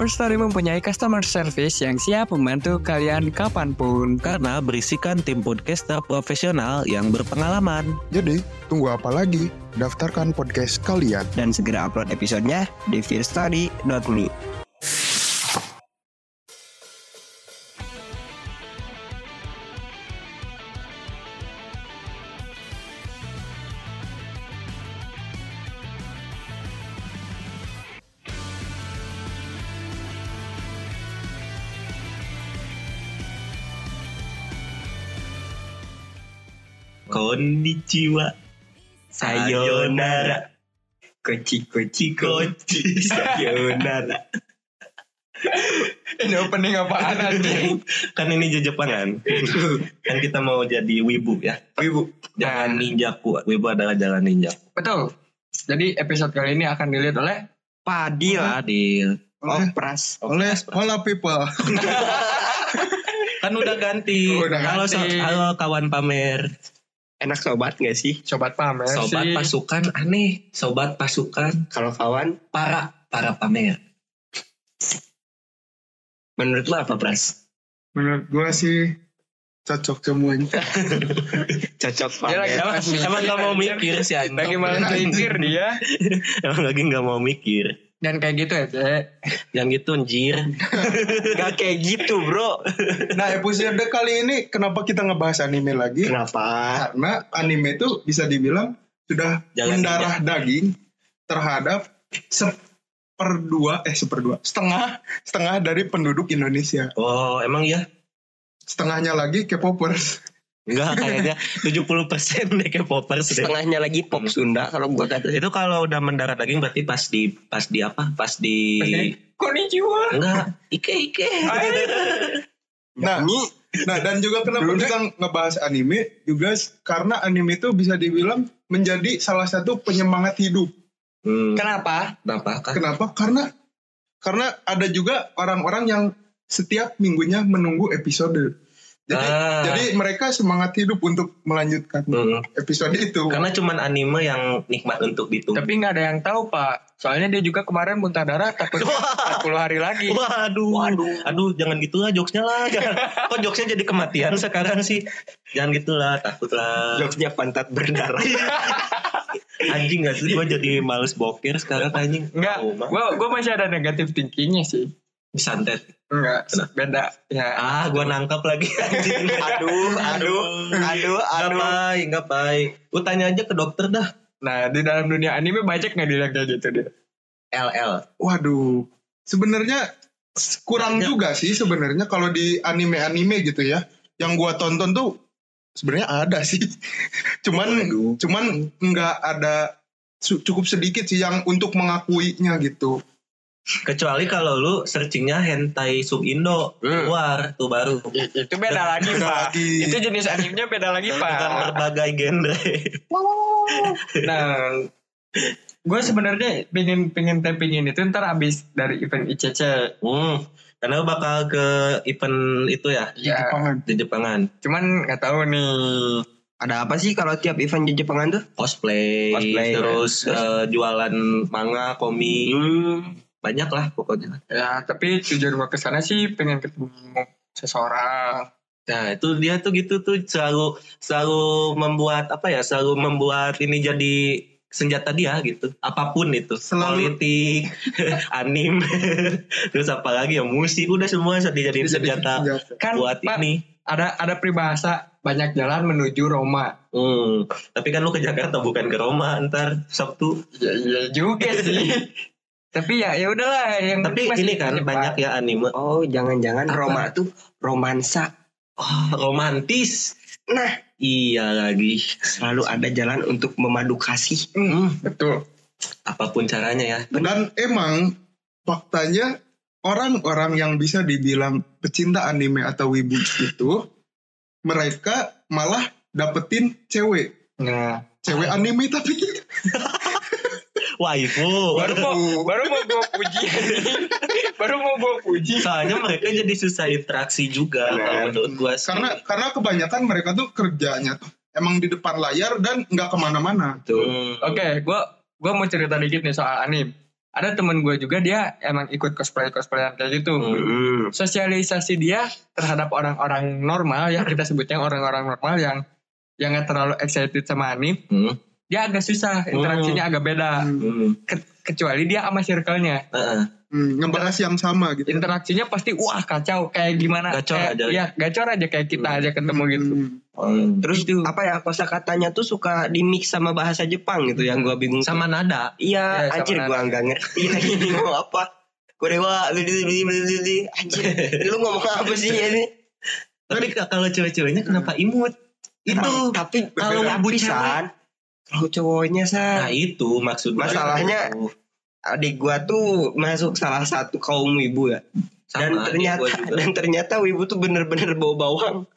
First Story mempunyai customer service yang siap membantu kalian kapanpun. Karena berisikan tim podcaster profesional yang berpengalaman. Jadi, tunggu apa lagi? Daftarkan podcast kalian. Dan segera upload episodenya di fearstory.me. Konnichiwa. Sayonara. Koci koci koci sayonara. Ini opening apaan anjing? kan ini jejepangan. kan kita mau jadi wibu ya. Wibu. Jalan ninjaku. Wibu adalah jalan ninja. Betul. Jadi episode kali ini akan dilihat oleh Padil. Adil. Opras. Oleh Hola People. Kan udah ganti. Udah halo, so- ganti. halo kawan pamer. Enak sobat gak sih? Sobat Pamer Sobat sih. pasukan aneh. Sobat pasukan Kalau kawan, para para pamer. Menurut lo apa Pras? Menurut gue sih cocok semuanya. cocok Dia lagi Emang, emang gak mau mikir sih Anto. Lagi malah kelintir dia. Emang lagi gak mau mikir Dan kayak gitu ya, Cek. Yang gitu anjir. Gak kayak gitu bro. Nah, episode kali ini kenapa kita ngebahas anime lagi? Kenapa? Karena anime itu bisa dibilang sudah Jalan mendarah daging terhadap seperdua eh seperdua setengah setengah dari penduduk Indonesia. Oh, emang ya? Setengahnya lagi K-popers. Enggak, kayaknya 70% deh K-popers deh. Hmm. Setengahnya lagi pop Sunda kalau gua kata. Itu kalau udah mendarah daging berarti pas di pas di apa? Pas di Konnichiwa. enggak ike ike. Nah, nah dan juga kenapa kita ngebahas anime juga s- karena anime itu bisa dibilang menjadi salah satu penyemangat hidup. Hmm, Kenapa? kenapa? Kan Kenapa? Karena karena ada juga orang-orang yang setiap minggunya menunggu episode. Jadi Ah. jadi mereka semangat hidup untuk melanjutkan Hmm, episode itu. karena cuman anime yang nikmat untuk ditunggu. Tapi nggak ada yang tahu, Pak. Soalnya dia juga kemarin muntah darah takut 40 hari lagi. Waduh, waduh, aduh, jangan gitu lah jokesnya lah. Jangan. Kok jokesnya jadi kematian sekarang sih? Jangan gitulah, takut lah. Jokesnya pantat berdarah. Anjing gak sih? Gue jadi males bokir sekarang anjing. Enggak, Tahu, mah. gua gua masih ada negatif thinkingnya sih. Disantet. Enggak, beda. Ya, Ah, gue nangkep lagi anjing. aduh, aduh, aduh, Gak aduh. baik, gak baik. Gue tanya aja ke dokter dah. nah di dalam dunia anime banyak nggak bilang kayak gitu dia. LL. Waduh, sebenarnya s- kurang Banyak. juga sih sebenarnya kalau di anime-anime gitu ya. Yang gua tonton tuh sebenarnya ada sih. cuman cuman nggak ada su- cukup sedikit sih yang untuk mengakuinya gitu. Kecuali kalau lu searchingnya hentai sub Indo Hmm. Iya. luar tuh baru. Itu beda lagi, Beda Pak. lagi. Itu jenis animenya beda lagi, Dengan Pak. berbagai genre. Nah, gue sebenarnya pengen pengen tappingin itu ntar abis dari event ICC. Hmm. Karena lu bakal ke event itu ya Ya, Pangan. di Jepangan cuman nggak tahu nih. Ada apa sih kalau tiap event di Jepangan tuh? cosplay, Cosplay, terus eh, jualan manga, komik, Hmm. banyak lah pokoknya. Ya, tapi tujuan gue kesana sih pengen ketemu seseorang. Nah itu dia tuh gitu tuh selalu selalu membuat apa ya selalu membuat ini jadi senjata dia gitu apapun itu Selalu- politik anime terus apa lagi ya musik udah semua dijadiin Jadi senjata senjata. Kan buat Pak, ini ada ada peribahasa banyak jalan menuju Roma. hmm. tapi kan lu ke Jakarta bukan ke Roma ntar Sabtu Ya, iya juga sih. tapi ya ya udahlah yang penting tapi masih ini kan Jepang. banyak ya anime Oh, jangan-jangan Apa? Roma tuh romansa. Wah, Oh, romantis. Nah. Iya lagi. Selalu ada jalan untuk memadu kasih. Hmm, Betul. Apapun caranya ya. Dan emang faktanya orang-orang yang bisa dibilang pecinta anime atau wibu itu mereka malah dapetin cewek. Nah, Cewek anime tapi Waifu. Baru mau baru mau gua puji anjing. Baru mau gua puji. Soalnya mereka jadi susah interaksi juga Iya, kalau menurut gua sih. karena karena kebanyakan mereka tuh kerjanya tuh emang di depan layar dan nggak kemana-mana. Hmm. Oke, gua gua mau cerita dikit nih soal anime. Ada temen gue juga dia emang ikut cosplay cosplayan kayak gitu. Hmm. Sosialisasi dia terhadap orang-orang normal ya kita sebutnya orang-orang normal yang yang nggak terlalu excited sama anime, Hmm. dia agak susah Oh. interaksinya agak beda. Hmm. Ke- kecuali dia sama circle-nya, Heeh. Hmm, ngebahas yang sama gitu. interaksinya pasti wah kacau kayak gimana? Gacor kayak, aja. Ya gacor aja kayak kita aja ketemu gitu. Hmm. Hmm. terus Itu. apa ya kosa katanya tuh suka di mix sama bahasa Jepang gitu yang gua bingung. Sama nada. Ya, Iya, sama anjir gua nggak ngerti lagi ini mau apa. Korewa, bidi, bidi, bidi, bidi. anjir, lu ngomong apa sih ini? Tapi k- kalau cewek-ceweknya kenapa imut? Itu. tapi kalau Iya. kalau ibu cewek- pisan, kalau cowoknya san, Nah itu maksud gua. Masalahnya- Itu. adik gua tuh masuk salah satu kaum wibu ya. Sama, dan adik ternyata gua juga. dan ternyata wibu tuh bener-bener bau bawang.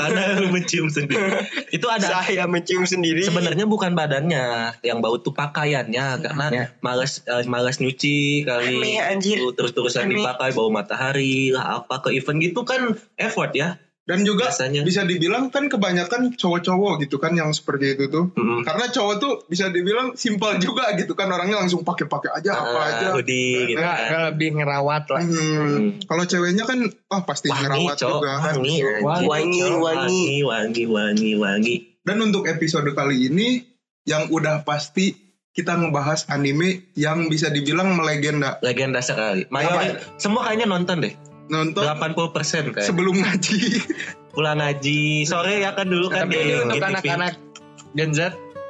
karena lu mencium sendiri. Itu ada Saya mencium sendiri. Iya. sebenarnya bukan badannya yang bau tuh pakaiannya karena Ya. malas eh, malas nyuci Iya. Aneh, kali anjir. Itu terus-terusan Aneh. dipakai bau matahari lah apa ke event gitu kan effort ya Dan juga biasanya. bisa dibilang kan kebanyakan cowok-cowok gitu kan yang seperti itu tuh. Mm. Karena cowok tuh bisa dibilang simpel juga gitu kan orangnya langsung pakai-pakai aja apa Ah, aja. hoodie gitu Nggak, kan. nggak lebih ngerawat lah. Hmm. Hmm. Kalau ceweknya kan wah pasti Wangi, ngerawat cok. juga. kan. Wangi, anjir. Wangi, Wangi, Cok. wangi. wangi, wangi, wangi. Dan untuk episode kali ini yang udah pasti kita ngebahas anime yang bisa dibilang melegenda. Legenda sekali. Apa? Mayoritas semua kayaknya nonton deh. Nonton 80% kayak. sebelum ngaji. Pulang ngaji sore ya kan dulu kan Tapi di- ini untuk di TV. anak-anak Gen Z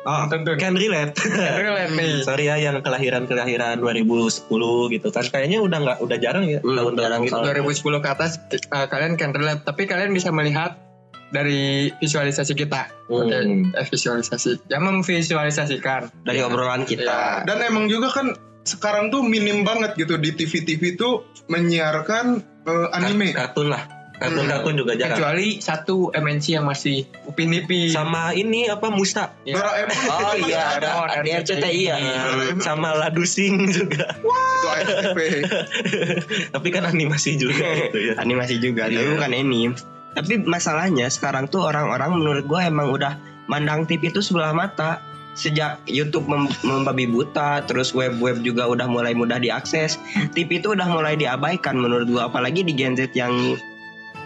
Oh, tentu can relate. Iya. relate nih. Hmm. Sorry ya yang kelahiran-kelahiran 2010 gitu kan. Kayaknya udah nggak udah jarang ya Hmm. tahun Jarang jarang Iya. gitu. 2010 ke atas eh, kalian can relate, tapi kalian bisa melihat dari visualisasi kita. Hmm. Oke, eh, visualisasi. Yang memvisualisasikan. dari obrolan kita. Dan emang juga kan sekarang tuh minim banget gitu di TV-TV tuh menyiarkan eh, anime. Iya. Kartun lah. Hmm. Kartun-kartun juga kan? jarang. Kecuali satu MNC yang masih upin ipin. Sama ini apa Musa Ya. Doraemon Oh itu iya, ada Oh, ada RCTI. RCTI ya. sama Ladusing juga. itu ASTP. Tapi kan animasi juga gitu ya. Animasi juga, tapi Iya. bukan anime. Tapi masalahnya sekarang tuh orang-orang menurut gua emang udah mandang TV itu sebelah mata. Sejak YouTube mem- membabi buta, terus web-web juga udah mulai mudah diakses. TV itu udah mulai diabaikan menurut gua, apalagi di Gen Z yang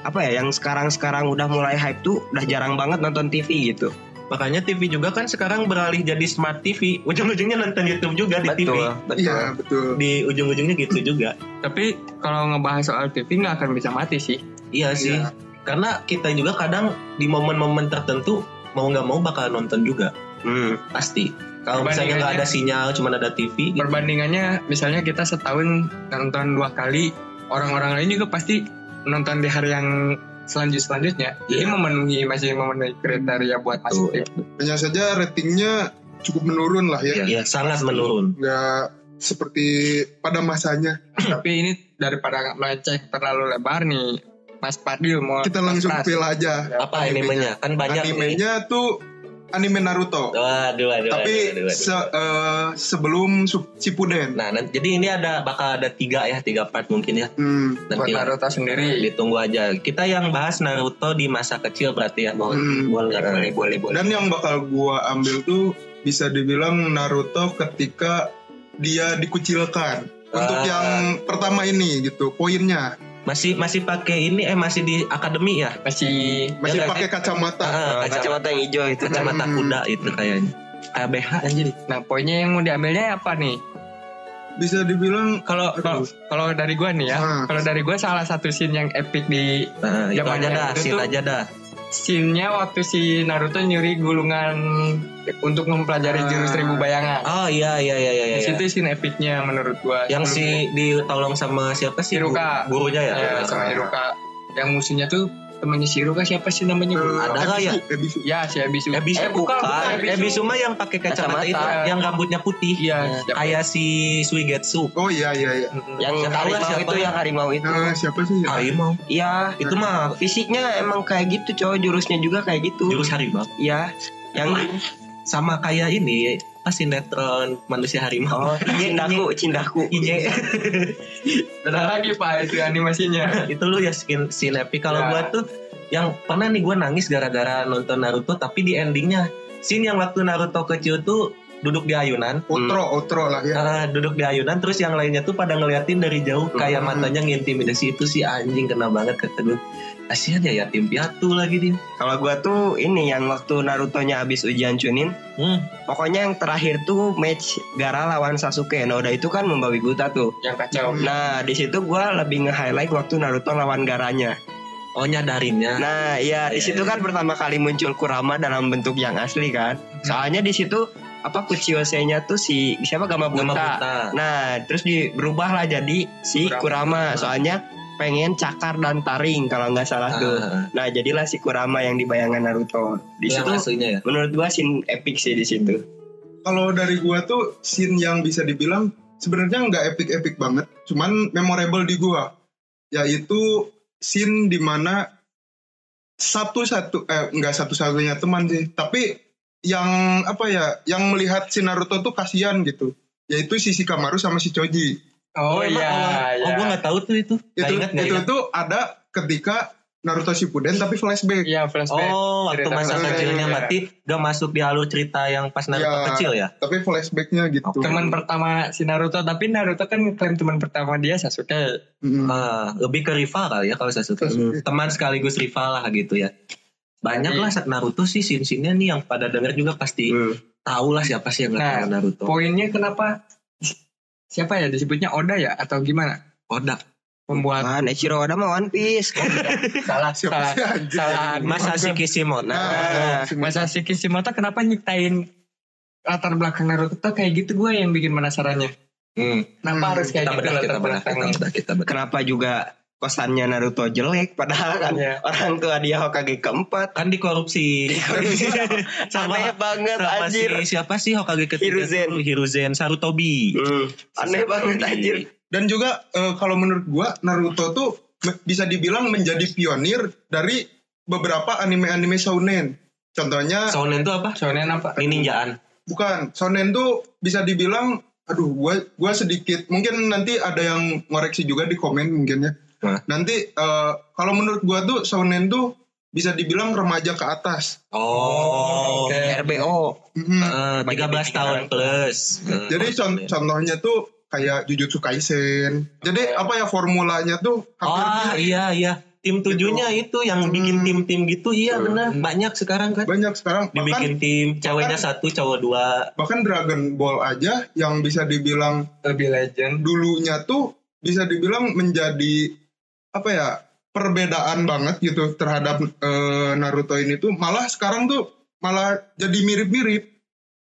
apa ya, yang sekarang-sekarang udah mulai hype tuh udah jarang banget nonton TV gitu. Makanya TV juga kan sekarang beralih jadi smart TV. Ujung-ujungnya nonton YouTube juga di TV. Iya, betul. Di ujung-ujungnya gitu juga. Tapi kalau ngebahas soal TV nggak akan bisa mati sih. Iya sih. Iya. Karena kita juga kadang di momen-momen tertentu mau nggak mau bakal nonton juga Hmm. pasti. Kalau misalnya nggak ada sinyal, cuma ada TV, gitu. Perbandingannya misalnya kita setahun nonton dua kali, orang-orang lain juga pasti nonton di hari yang selanjut selanjutnya. Jadi Iya. memenuhi masih memenuhi kriteria buat masuk TV. Hanya saja ratingnya cukup menurun lah ya. ya, sangat menurun. Nggak seperti pada masanya. Tapi ini daripada melenceng terlalu lebar nih, Mas Padil mau Kita langsung Mas Pras. pil aja. Apa Animenya. animenya? Kan banyak nih. Animenya tuh anime Naruto. Waduh, waduh, Tapi waduh, waduh, waduh. se- eh, sebelum Sup- Shippuden. Nah, nanti, jadi ini ada bakal ada tiga ya, tiga part mungkin ya. Hmm. buat Nanti lah. Naruto sendiri. ditunggu aja. Kita yang bahas Naruto di masa kecil berarti ya, Bang. Hmm. boleh, boleh, boleh, boleh. Dan yang bakal gua ambil tuh bisa dibilang Naruto ketika dia dikucilkan. Untuk Ah. yang pertama ini gitu, poinnya Masih masih pakai ini eh masih di akademi ya? Masih masih Ya, pakai kacamata. Ah, kacamata Kacamata yang hijau itu. kacamata Hmm. kuda itu kayaknya. Kayak BH anjir. Nah, poinnya yang mau diambilnya apa nih? Bisa dibilang Kalau kalau- kalau dari gua nih ya, Ah. kalau dari gua salah satu scene yang epic di Nah, itu Zaman aja yang dah, itu sit tuh- aja dah. scene-nya waktu si Naruto nyuri gulungan untuk mempelajari Ah. jurus seribu bayangan. Oh iya iya iya iya. Di iya. situ scene epicnya menurut gua. Yang si ditolong sama siapa sih? Iruka. Iya. Gurunya ya. Ya, sama Iruka. Yang musuhnya tuh temannya si Ruka siapa sih namanya? Ada Ada. nggak ya? eh, Ebisu. Ya si Ebisu. Ebisu Eh, bukan, bukan. Ebisu. Ebisu mah yang pakai kacamata Kacamata. itu, yang rambutnya putih. Iya. siapa? Kayak si Suigetsu. Oh iya iya iya. yang Nggak tahu lah harimau siapa ya? Ah, itu yang harimau itu Eh, siapa sih? Ya? Harimau. ya Itu mah fisiknya emang kayak gitu cowok jurusnya juga kayak gitu jurus harimau. ya yang Sama kayak ini, pas sinetron manusia harimau. oh cindaku cindaku Inye. Ada lagi Pak itu animasinya. itu lu ya skin sinepi kalau Ya. gua tuh yang pernah nih gua nangis gara-gara nonton Naruto tapi di endingnya scene yang waktu Naruto kecil tuh duduk di ayunan Otro, otro lah ya. Ah, duduk di ayunan terus yang lainnya tuh pada ngeliatin dari jauh kayak Hmm. matanya ngintimidasi itu si anjing kena banget kata gue kasihan ya yatim piatu lagi dia kalau gua tuh ini yang waktu Naruto-nya habis ujian Chunin hmm. Pokoknya yang terakhir tuh match Gara lawan Sasuke. Nah udah itu kan membabi buta tuh. Yang kacau. Hmm. Nah di situ gue lebih nge-highlight waktu Naruto lawan Garanya. oh nyadarinnya Nah iya di situ kan pertama kali muncul Kurama dalam bentuk yang asli kan. Soalnya di situ apa Kuchiyose-nya tuh si siapa Gama nama Bunta. buta Nah terus di berubahlah jadi si Kurama. Soalnya pengen cakar dan taring kalau nggak salah tuh. Ah, Nah jadilah si Kurama yang dibayangan Naruto. Di yang situ aslinya ya menurut gua scene epic sih di situ. Kalau dari gua tuh scene yang bisa dibilang sebenarnya nggak epic-epic banget, cuman memorable di gua. Yaitu scene dimana satu-satu eh nggak satu-satunya teman sih, tapi yang apa ya, yang melihat si Naruto tuh kasihan gitu. Yaitu si Shikamaru sama si Choji. Oh, emang iya. awal- oh iya. gue nggak tahu tuh itu nggak Itu ingat nggak itu ingat tuh ada ketika Naruto Shippuden tapi flashback. Iya flashback. Oh, waktu Cerita masa flashback. kecilnya berarti udah masuk di alur cerita yang pas Naruto Ya. kecil ya? Tapi flashbacknya gitu. Teman pertama si Naruto, tapi Naruto kan klaim teman pertama dia Sasuke. Mm. Ah, lebih ke rival kali ya kalau saya suka. Sasuke. Teman sekaligus rival lah gitu ya. Banyak Jadi- lah saat Naruto sih scene-scene-nya nih yang pada denger juga pasti Hmm. tahu lah siapa sih yang Nah, nggak tahu Naruto. Poinnya kenapa siapa ya disebutnya Oda ya atau gimana? Oda. Pembuat Wan, Ichiro Oda mah One Piece. salah Siapa salah sih anjing? salah Masashi Kishimoto. Nah, si masa si Kishimoto kenapa nyiptain latar belakang Naruto tuh kayak gitu gue yang bikin penasarannya. Hmm, Kenapa Hmm, harus kayak kita gitu bedah, kita latar bedah, kita belakangnya? bedah, kita bedah. kenapa juga kosannya Naruto jelek padahal kan Iya. orang tua dia Hokage keempat Kan dikorupsi. aneh sama banget sama si anjir siapa sih Hokage ketiga? Hiruzen. dulu? Hiruzen Sarutobi. Hmm, aneh banget Sarutobi. anjir dan juga eh, kalau menurut gua Naruto tuh me- bisa dibilang menjadi pionir dari beberapa anime-anime shonen. Contohnya Shonen itu apa? Soalnya apa? Ninjaan. bukan shonen tuh bisa dibilang aduh gua gua sedikit mungkin nanti ada yang ngoreksi juga di komen mungkin ya. Nah. Nanti eh, kalau menurut gua tuh shonen tuh bisa dibilang remaja ke atas. Oh. Oke. Eh, RBO Mhm. Eh, 13 tahun plus. Eh, Jadi oh, con- contohnya tuh kayak Jujutsu Kaisen. Jadi apa ya formulanya tuh hampir Ah mirip. iya iya. Tim tujuhnya itu yang bikin Gitu. Hmm. tim-tim gitu. Iya benar. Banyak sekarang kan. banyak sekarang bahkan Dibikin tim ceweknya satu, cowok dua. bahkan Dragon Ball aja yang bisa dibilang Lebih legend. dulunya tuh bisa dibilang menjadi apa ya perbedaan banget gitu terhadap eh, Naruto ini tuh malah sekarang tuh malah jadi mirip-mirip.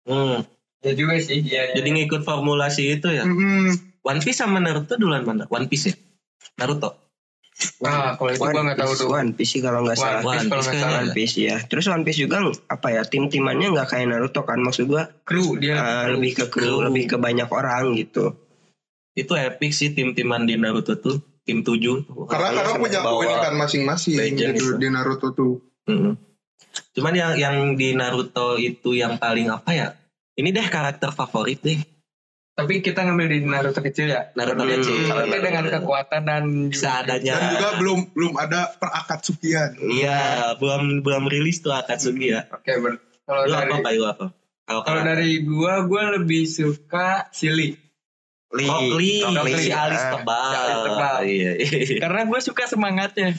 Hmm. Ya juga sih. Iya. Jadi ngikut formulasi itu ya. Mm-mm. One Piece sama Naruto duluan mana? One Piece ya. Naruto. Nah, kalau itu gue nggak tahu Piece, tuh. One Piece sih kalau nggak One salah Piece One kalau Piece nggak kayaknya. salah. One Piece ya terus One Piece juga apa ya tim timannya nggak kayak Naruto kan maksud gua Kru Ya, dia. eh, lebih ke Crew. kru lebih ke banyak orang gitu Itu epic sih tim-timan di Naruto tuh. Tim tujuh. Iya, Karena Kalau karena sampai punya bawa keunikan masing-masing legend gitu itu. di Naruto tuh. Mm-mm. Hmm. Cuman yang yang di Naruto itu yang paling apa ya? Ini deh karakter favorit deh. Tapi kita ngambil di Naruto kecil ya. Naruto Hmm. kecil. Tapi dengan iya. kekuatan dan seadanya. Ya. Dan juga belum belum ada perakatsukian. Iya, belum belum rilis tuh Akatsuki ya. Oke, ber. Kalau Lu dari apa Pak? Lu apa? kan Kalau kalau kamu- dari gua, gua lebih suka Silly. Li, Kokli, Kokli. si alis Ah, tebal. si alis tebal. Iya. iya. Karena gua suka semangatnya.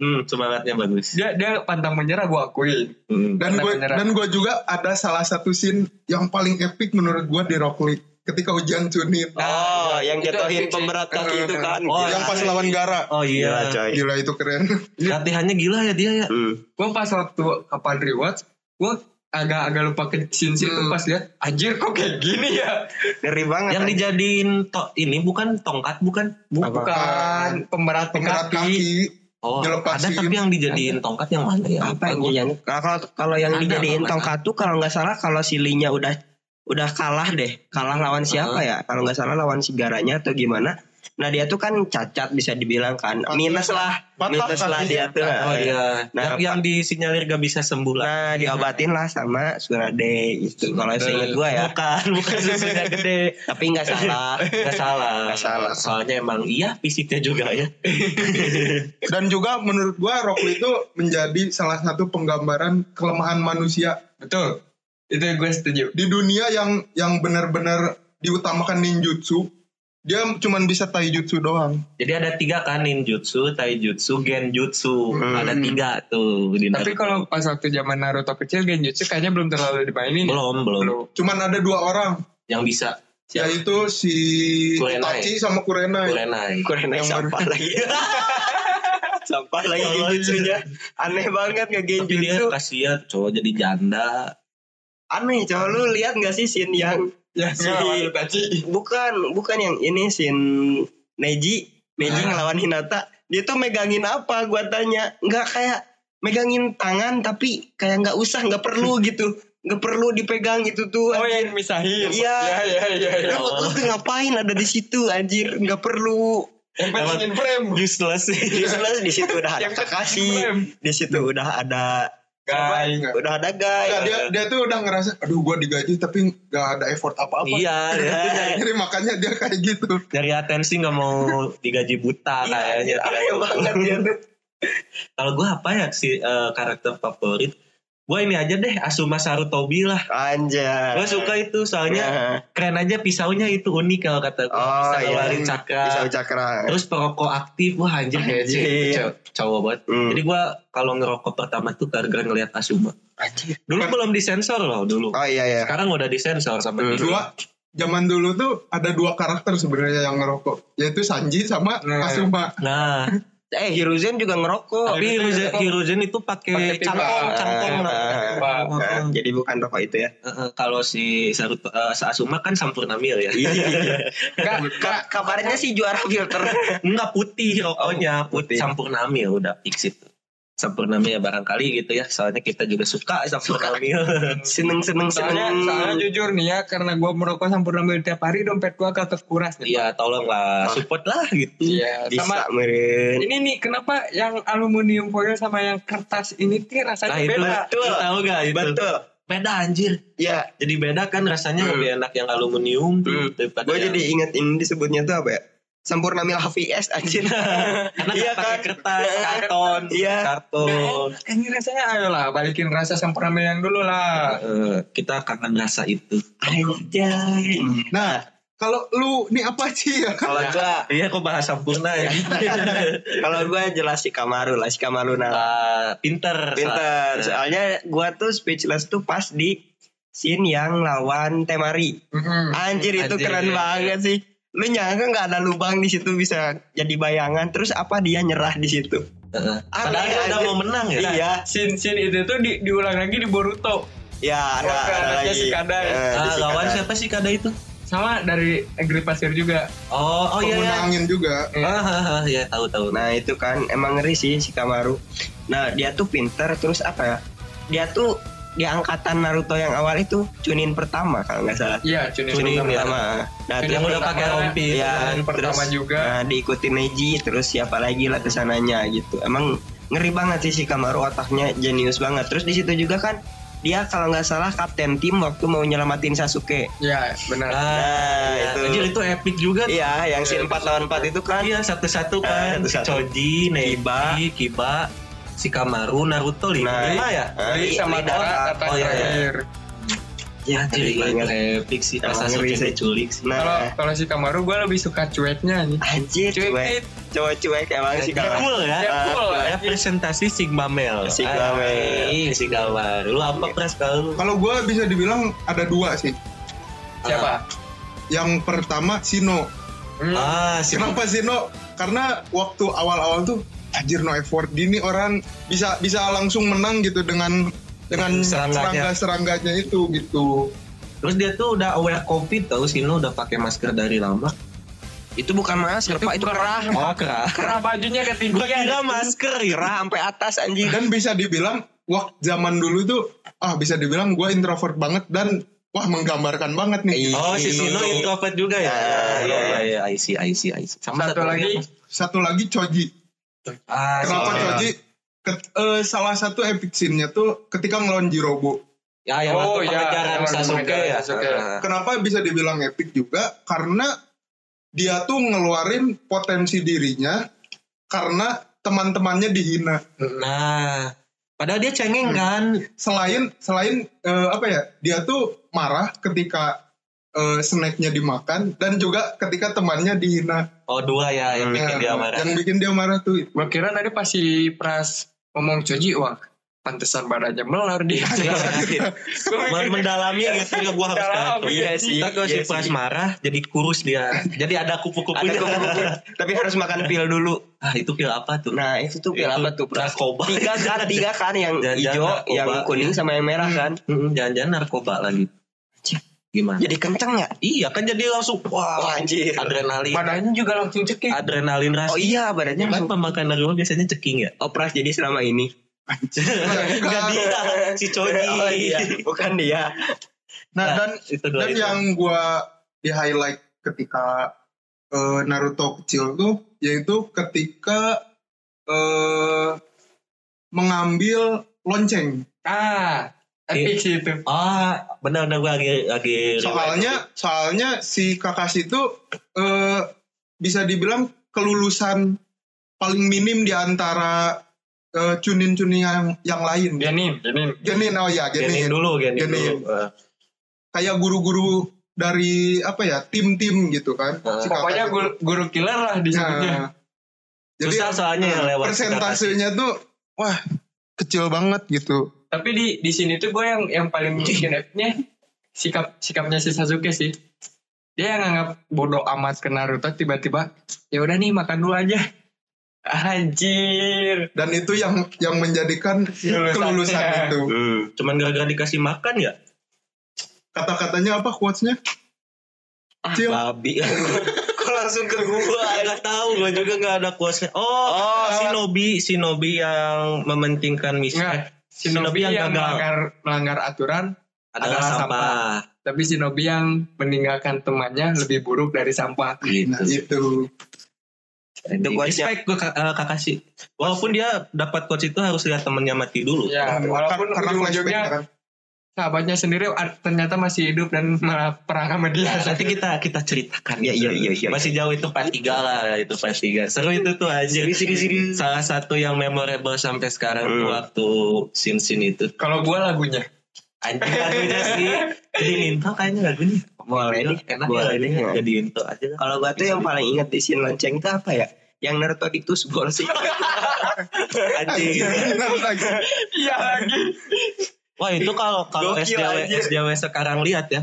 Hmm, semangatnya bagus. Dia dia pantang menyerah gua akui. Dan Hmm. Karena gue beneran. dan gue juga ada salah satu scene yang paling epic menurut gue di Rock League ketika hujan Chunin. oh yang Itu jatuhin epic sih. pemberat kaki itu kan Oh, yang pas lawan Gara. Oh iya. Gila, coy Gila itu keren. Latihannya gila ya dia ya. Hmm. Gua pas waktu kapal rewatch, gua agak-agak lupa ke scene itu Hmm. pas lihat anjir kok kayak gini ya ngeri banget Yang dijadiin to ini bukan tongkat bukan? bukan pemberat Pemberat kaki kaki. Oh, Dilepasin. ada tapi yang dijadiin tongkat yang mana ya? apa Lupa yang gua. dijadiin Nah, kalau kalau yang Ada apa, dijadiin Mas? tongkat tuh kalau nggak salah kalau si Linya udah udah kalah deh kalah lawan siapa ya kalau nggak salah lawan si Garanya atau gimana nah dia tuh kan cacat bisa dibilang kan Patah. minus lah Patah minus lah kakinya. dia tuh Oh iya. Nah, yang, yang disinyalir gak bisa sembuh lah. nah diobatin lah sama Surade gitu kalau seingat gua ya Bukan, bukan susunya gede. tapi nggak salah Gak salah. Nggak salah. Soalnya emang iya fisiknya juga ya. Dan juga menurut gua Rockley itu menjadi salah satu penggambaran kelemahan manusia Betul. Itu gue setuju. di dunia yang yang benar-benar diutamakan ninjutsu. Dia cuman bisa taijutsu doang. Jadi ada tiga kan ninjutsu, taijutsu, genjutsu. Hmm. Ada tiga tuh di Tapi Naruto. kalau pas waktu zaman Naruto kecil Genjutsu kayaknya belum terlalu dimainin. belum, belum Belum. Cuman ada dua orang, yang bisa siapa? yaitu si Kurenai. Itachi sama Kurenai. Kurenai. kurang naik Yang sampah lagi sampah lagi Oh, lucunya aneh banget nggak Tapi dia genjutsu kasihan cowok jadi janda. aneh coba lu lihat nggak sih scene yang Ya, Si- ngelawan Itachi. bukan bukan yang ini scene Neji Neji ngelawan Hinata dia tuh megangin apa gua tanya nggak kayak megangin tangan tapi kayak nggak usah nggak perlu gitu nggak perlu dipegang gitu tuh Oh yang misahin. Iya. Ya, ya, ya, ya. lu, lu tuh ngapain ada di situ anjir nggak perlu Yang pentingin frame. Useless sih. di sana- di situ udah ada Yang pentingin Kakashi frame. di situ udah ada Guys. udah ada guys Nah, dia dia tuh udah ngerasa aduh gua digaji tapi nggak ada effort apa-apa. Iya, dia tuh nyari- Jadi makanya dia kayak gitu. nyari atensi nggak mau digaji buta Iya, kayaknya. anjir, aneh banget dia tuh Kalau gue apa ya si eh, karakter favorit? Gue ini aja deh Asuma Sarutobi lah. anjir Gue suka itu soalnya keren aja pisaunya itu unik kalau kata gue. Ya. Oh, Bisa iya. ngeluarin cakra. bisa cakra Terus perokok aktif wah anjir kayak Anjir. cewek- cowok banget. Hmm. Jadi gue kalau ngerokok pertama tuh gara-gara ngeliat Asuma. Anjir. Dulu belum disensor loh dulu. oh iya iya Sekarang udah disensor sama Hmm. dia. Dua zaman dulu tuh ada dua karakter sebenarnya yang ngerokok, yaitu Sanji sama Nah. Asuma. Nah, Eh Hiruzen juga ngerokok. tapi iya, Hiruzen, Hiruzen itu Pakai pakai pipa. cangkong, cangkong Ah, lah. Pak. ah, ah. jadi bukan rokok itu ya. Heeh, kalau si Saruto, eh, Saasuma kan sampurna mil ya. Enggak, Ka- kabarnya sih juara filter. Enggak putih rokoknya, Oh, putih. putih. Sampurna mil udah fix itu. Sampurna mil ya barangkali gitu ya. Soalnya kita juga suka sampurna mil. seneng seneng Soalnya, seneng. soalnya jujur nih ya, karena gue merokok sempurna mil tiap hari, dompet gue kata kuras nih. Iya, Ah. tolonglah support lah gitu. Iya, sama Bisa meren. ini nih kenapa yang aluminium foil sama yang kertas ini tuh rasanya Nah itu, beda. itu tahu gak itu? Betul. Beda anjir. Ya, Jadi beda kan rasanya lebih enak yang aluminium tuh daripada gue yang- Hmm. jadi inget ini disebutnya tuh apa ya? Sempurna mil HVS anjir. Karena nggak Iya pakai kan? kertas, karton, Iya. karton. Nah, Ini rasanya ayolah balikin rasa sempurna mil yang dulu lah. Eh, kita kangen rasa itu. Anjay. Nah, kalau lu nih apa sih ya? Kalau gua Oh, Iya, kok bahas sampurna ya. kalau gua jelas si Kamaru lah, si Kamaru Nara. Ah, pinter. Pinter. Soalnya gua tuh speechless tuh pas di scene yang lawan Temari. Mm-mm. Anjir itu Anjir. keren banget sih. Lu nyangka nggak ada lubang di situ bisa jadi bayangan. Terus apa dia nyerah di situ? Heeh. Padahal Aneh, dia udah anjir. mau menang ya. Iya, Scene scene itu tuh di- diulang lagi di Boruto ya Oh, ada, Wah, ada anaknya lagi. si Kadai. Eh, Ah, di si lawan Kadai. siapa sih kada itu? sama dari Negeri Pasir juga. Oh, oh iya. Pengguna iya. angin juga. Ah, ah, ah, iya tahu tahu. Nah itu kan emang ngeri sih si Kamaru. Nah dia tuh pinter terus apa ya? Dia tuh di angkatan Naruto yang awal itu Chunin pertama kalau nggak salah. Iya, Chunin, Chunin pertama. pertama. Chunin Nah, yang terus- udah pakai pertama, rompi. Iya, Chunin pertama terus- juga. Nah, diikuti Neji terus siapa lagi lah kesananya gitu. Emang ngeri banget sih si Kamaru otaknya jenius banget. Terus di situ juga kan dia kalau nggak salah kapten tim waktu mau nyelamatin Sasuke. Iya, benar. Nah, Ah, iya. itu. Anjir itu epic juga. tuh. Iya, yang si Iya, 4 lawan 4 itu kan. Iya satu-satu kan. satu-satu. Choji, Kiba. Neji, Kiba, si Kamaru, Naruto lima, Nah, lima ya. Nah, Jadi sama Lidara. Dara kata Oh, iya, iya. terakhir. Ya, jadi ngeri banget. epic sih pas Iya, Emang ngeri Sasuke sih. diculik sih. Kalau Nah, kalau si Kamaru gue lebih suka cueknya Ah. nih. anjir cuek. Cuek, Cowok cuek emang si Kamaru. Cool ya. ya cool. Ada presentasi Sigma Male. Sigma Male. Ay, Iya. Sigma Male. Lu apa pres kalau lu? Kalau gua bisa dibilang ada dua sih. Siapa? Yang pertama Sino. Hmm. Ah, si Kenapa Sino? Karena waktu awal-awal tuh anjir no effort gini orang bisa bisa langsung menang gitu dengan dengan Serangganya. serangga-serangganya itu gitu. Terus dia tuh udah aware covid tau Sino udah pakai masker dari lama. Itu bukan masker, Pak, itu kerah. Oh, kerah. Karena bajunya Gua ketiga. kira masker, kira sampai atas anjing. dan bisa dibilang wah zaman dulu tuh ah bisa dibilang gue introvert banget dan wah menggambarkan banget nih Oh, si Sino introvert juga ya. Iya, iya, iya, I see, I see, I see. Sama Satu lagi satu lagi Choji Ah, kenapa si- Choji Ket- eh, salah satu epic scene-nya tuh ketika ngelawan Jirobo Ya, yang Oh, oh, iya, pengejaran yang Sasuke pengejaran ya. Sasuke. Ah. kenapa bisa dibilang epic juga karena dia tuh ngeluarin potensi dirinya karena teman-temannya dihina Nah, padahal dia cengeng kan. selain selain eh, apa ya dia tuh marah ketika eh, snacknya dimakan dan juga ketika temannya dihina Oh, dua ya yang bikin Nah, dia marah. yang bikin dia marah tuh Gua kira tadi pas si Pras ngomong Coji, wah pantesan badannya melar dia. Gua mikir, Men- mendalami gitu ya gua harus Dalam, kaki. iya sih, Tapi kalau iya si sih. Pras marah jadi kurus dia. Jadi ada Ada kupu-kupunya. kupu-kupu. Tapi harus makan pil dulu. ah, itu pil apa tuh? Nah, itu tuh Itu pil apa tuh, Pras? Narkoba. Tiga kan, tiga kan yang Jajan, hijau, narkoba, yang kuning iya. sama yang merah kan. Mm-mm, Jangan-jangan narkoba lagi. Gimana? Jadi kenceng ya? Iya kan jadi langsung Wah, wah anjir. adrenalin Badannya juga langsung cekik. adrenalin ras. Oh iya, Ya badannya kan langsung pemakaian narkoba biasanya ceking ya. Oh, Pras jadi selama ini. Enggak dia si Cody. Oh iya, bukan dia. nah Nah, dan itu dua dan itu. yang gua di highlight ketika eh, Naruto kecil tuh yaitu ketika eh mengambil lonceng Ah, Iya. epic sih itu. Ah, benar-benar gue lagi lagi soalnya soalnya si Kakashi itu eh bisa dibilang kelulusan paling minim di antara eh, cunin-cunin yang yang lain. Iya, Janin, janin. Genin oh ya genin genin. dulu, genin, Genin. dulu. Eh, Kayak guru-guru dari apa ya tim-tim gitu kan. Nah, Si Kakashi Pokoknya itu. guru, guru killer lah disebutnya. Nah, jadi Susah soalnya yang eh, lewat persentasenya tuh wah kecil banget gitu. Tapi di di sini tuh gue yang yang paling Iya. bikin epicnya sikap sikapnya si Sasuke sih. Dia yang nganggap bodoh amat ke Naruto tiba-tiba ya udah nih makan dulu aja. Anjir. Dan itu yang yang menjadikan Kelulusan. kelulusan itu. Cuman gara-gara dikasih makan ya? Kata-katanya apa quotes-nya? Cil. Babi. Kok langsung ke gua? Gak tahu, gua juga gak ada kuasnya. Oh, Shinobi, Shinobi yang mementingkan misi. Enggak. Shinobi Shinobi yang yang gagal. melanggar, melanggar aturan, adalah Adalah sampah. tapi Shinobi yang meninggalkan temannya lebih buruk dari sampah. Nah, itu. iya. Itu quotesnya. Gitu. Respect gue Kakashi. Walaupun dia dapat coach itu harus lihat temennya mati dulu. Ya, walaupun Iya, karena flashback ujung-ujungnya kan. sahabatnya sendiri ah, ternyata masih hidup dan malah perang sama dia. Nah, nanti kita kita ceritakan. Iya, iya, iya, iya. Masih jauh itu part 3 lah, itu part 3. Seru itu tuh anjir. Salah satu yang memorable sampai sekarang tuh Hmm. waktu scene-scene itu. Kalau gue lagunya, Anjir lagunya sih. Jadi intro kayaknya lagunya. Boleh nih, Enak ya boleh lagunya. nih. Jadi intro aja lah. Kalau gua tuh yang paling inget di scene lonceng itu apa ya? Yang Naruto ditusbol sih. Anjir. Benar lagi. iya lagi. Wah itu kalau kalau Gokil, SJW anjir. SJW sekarang lihat ya.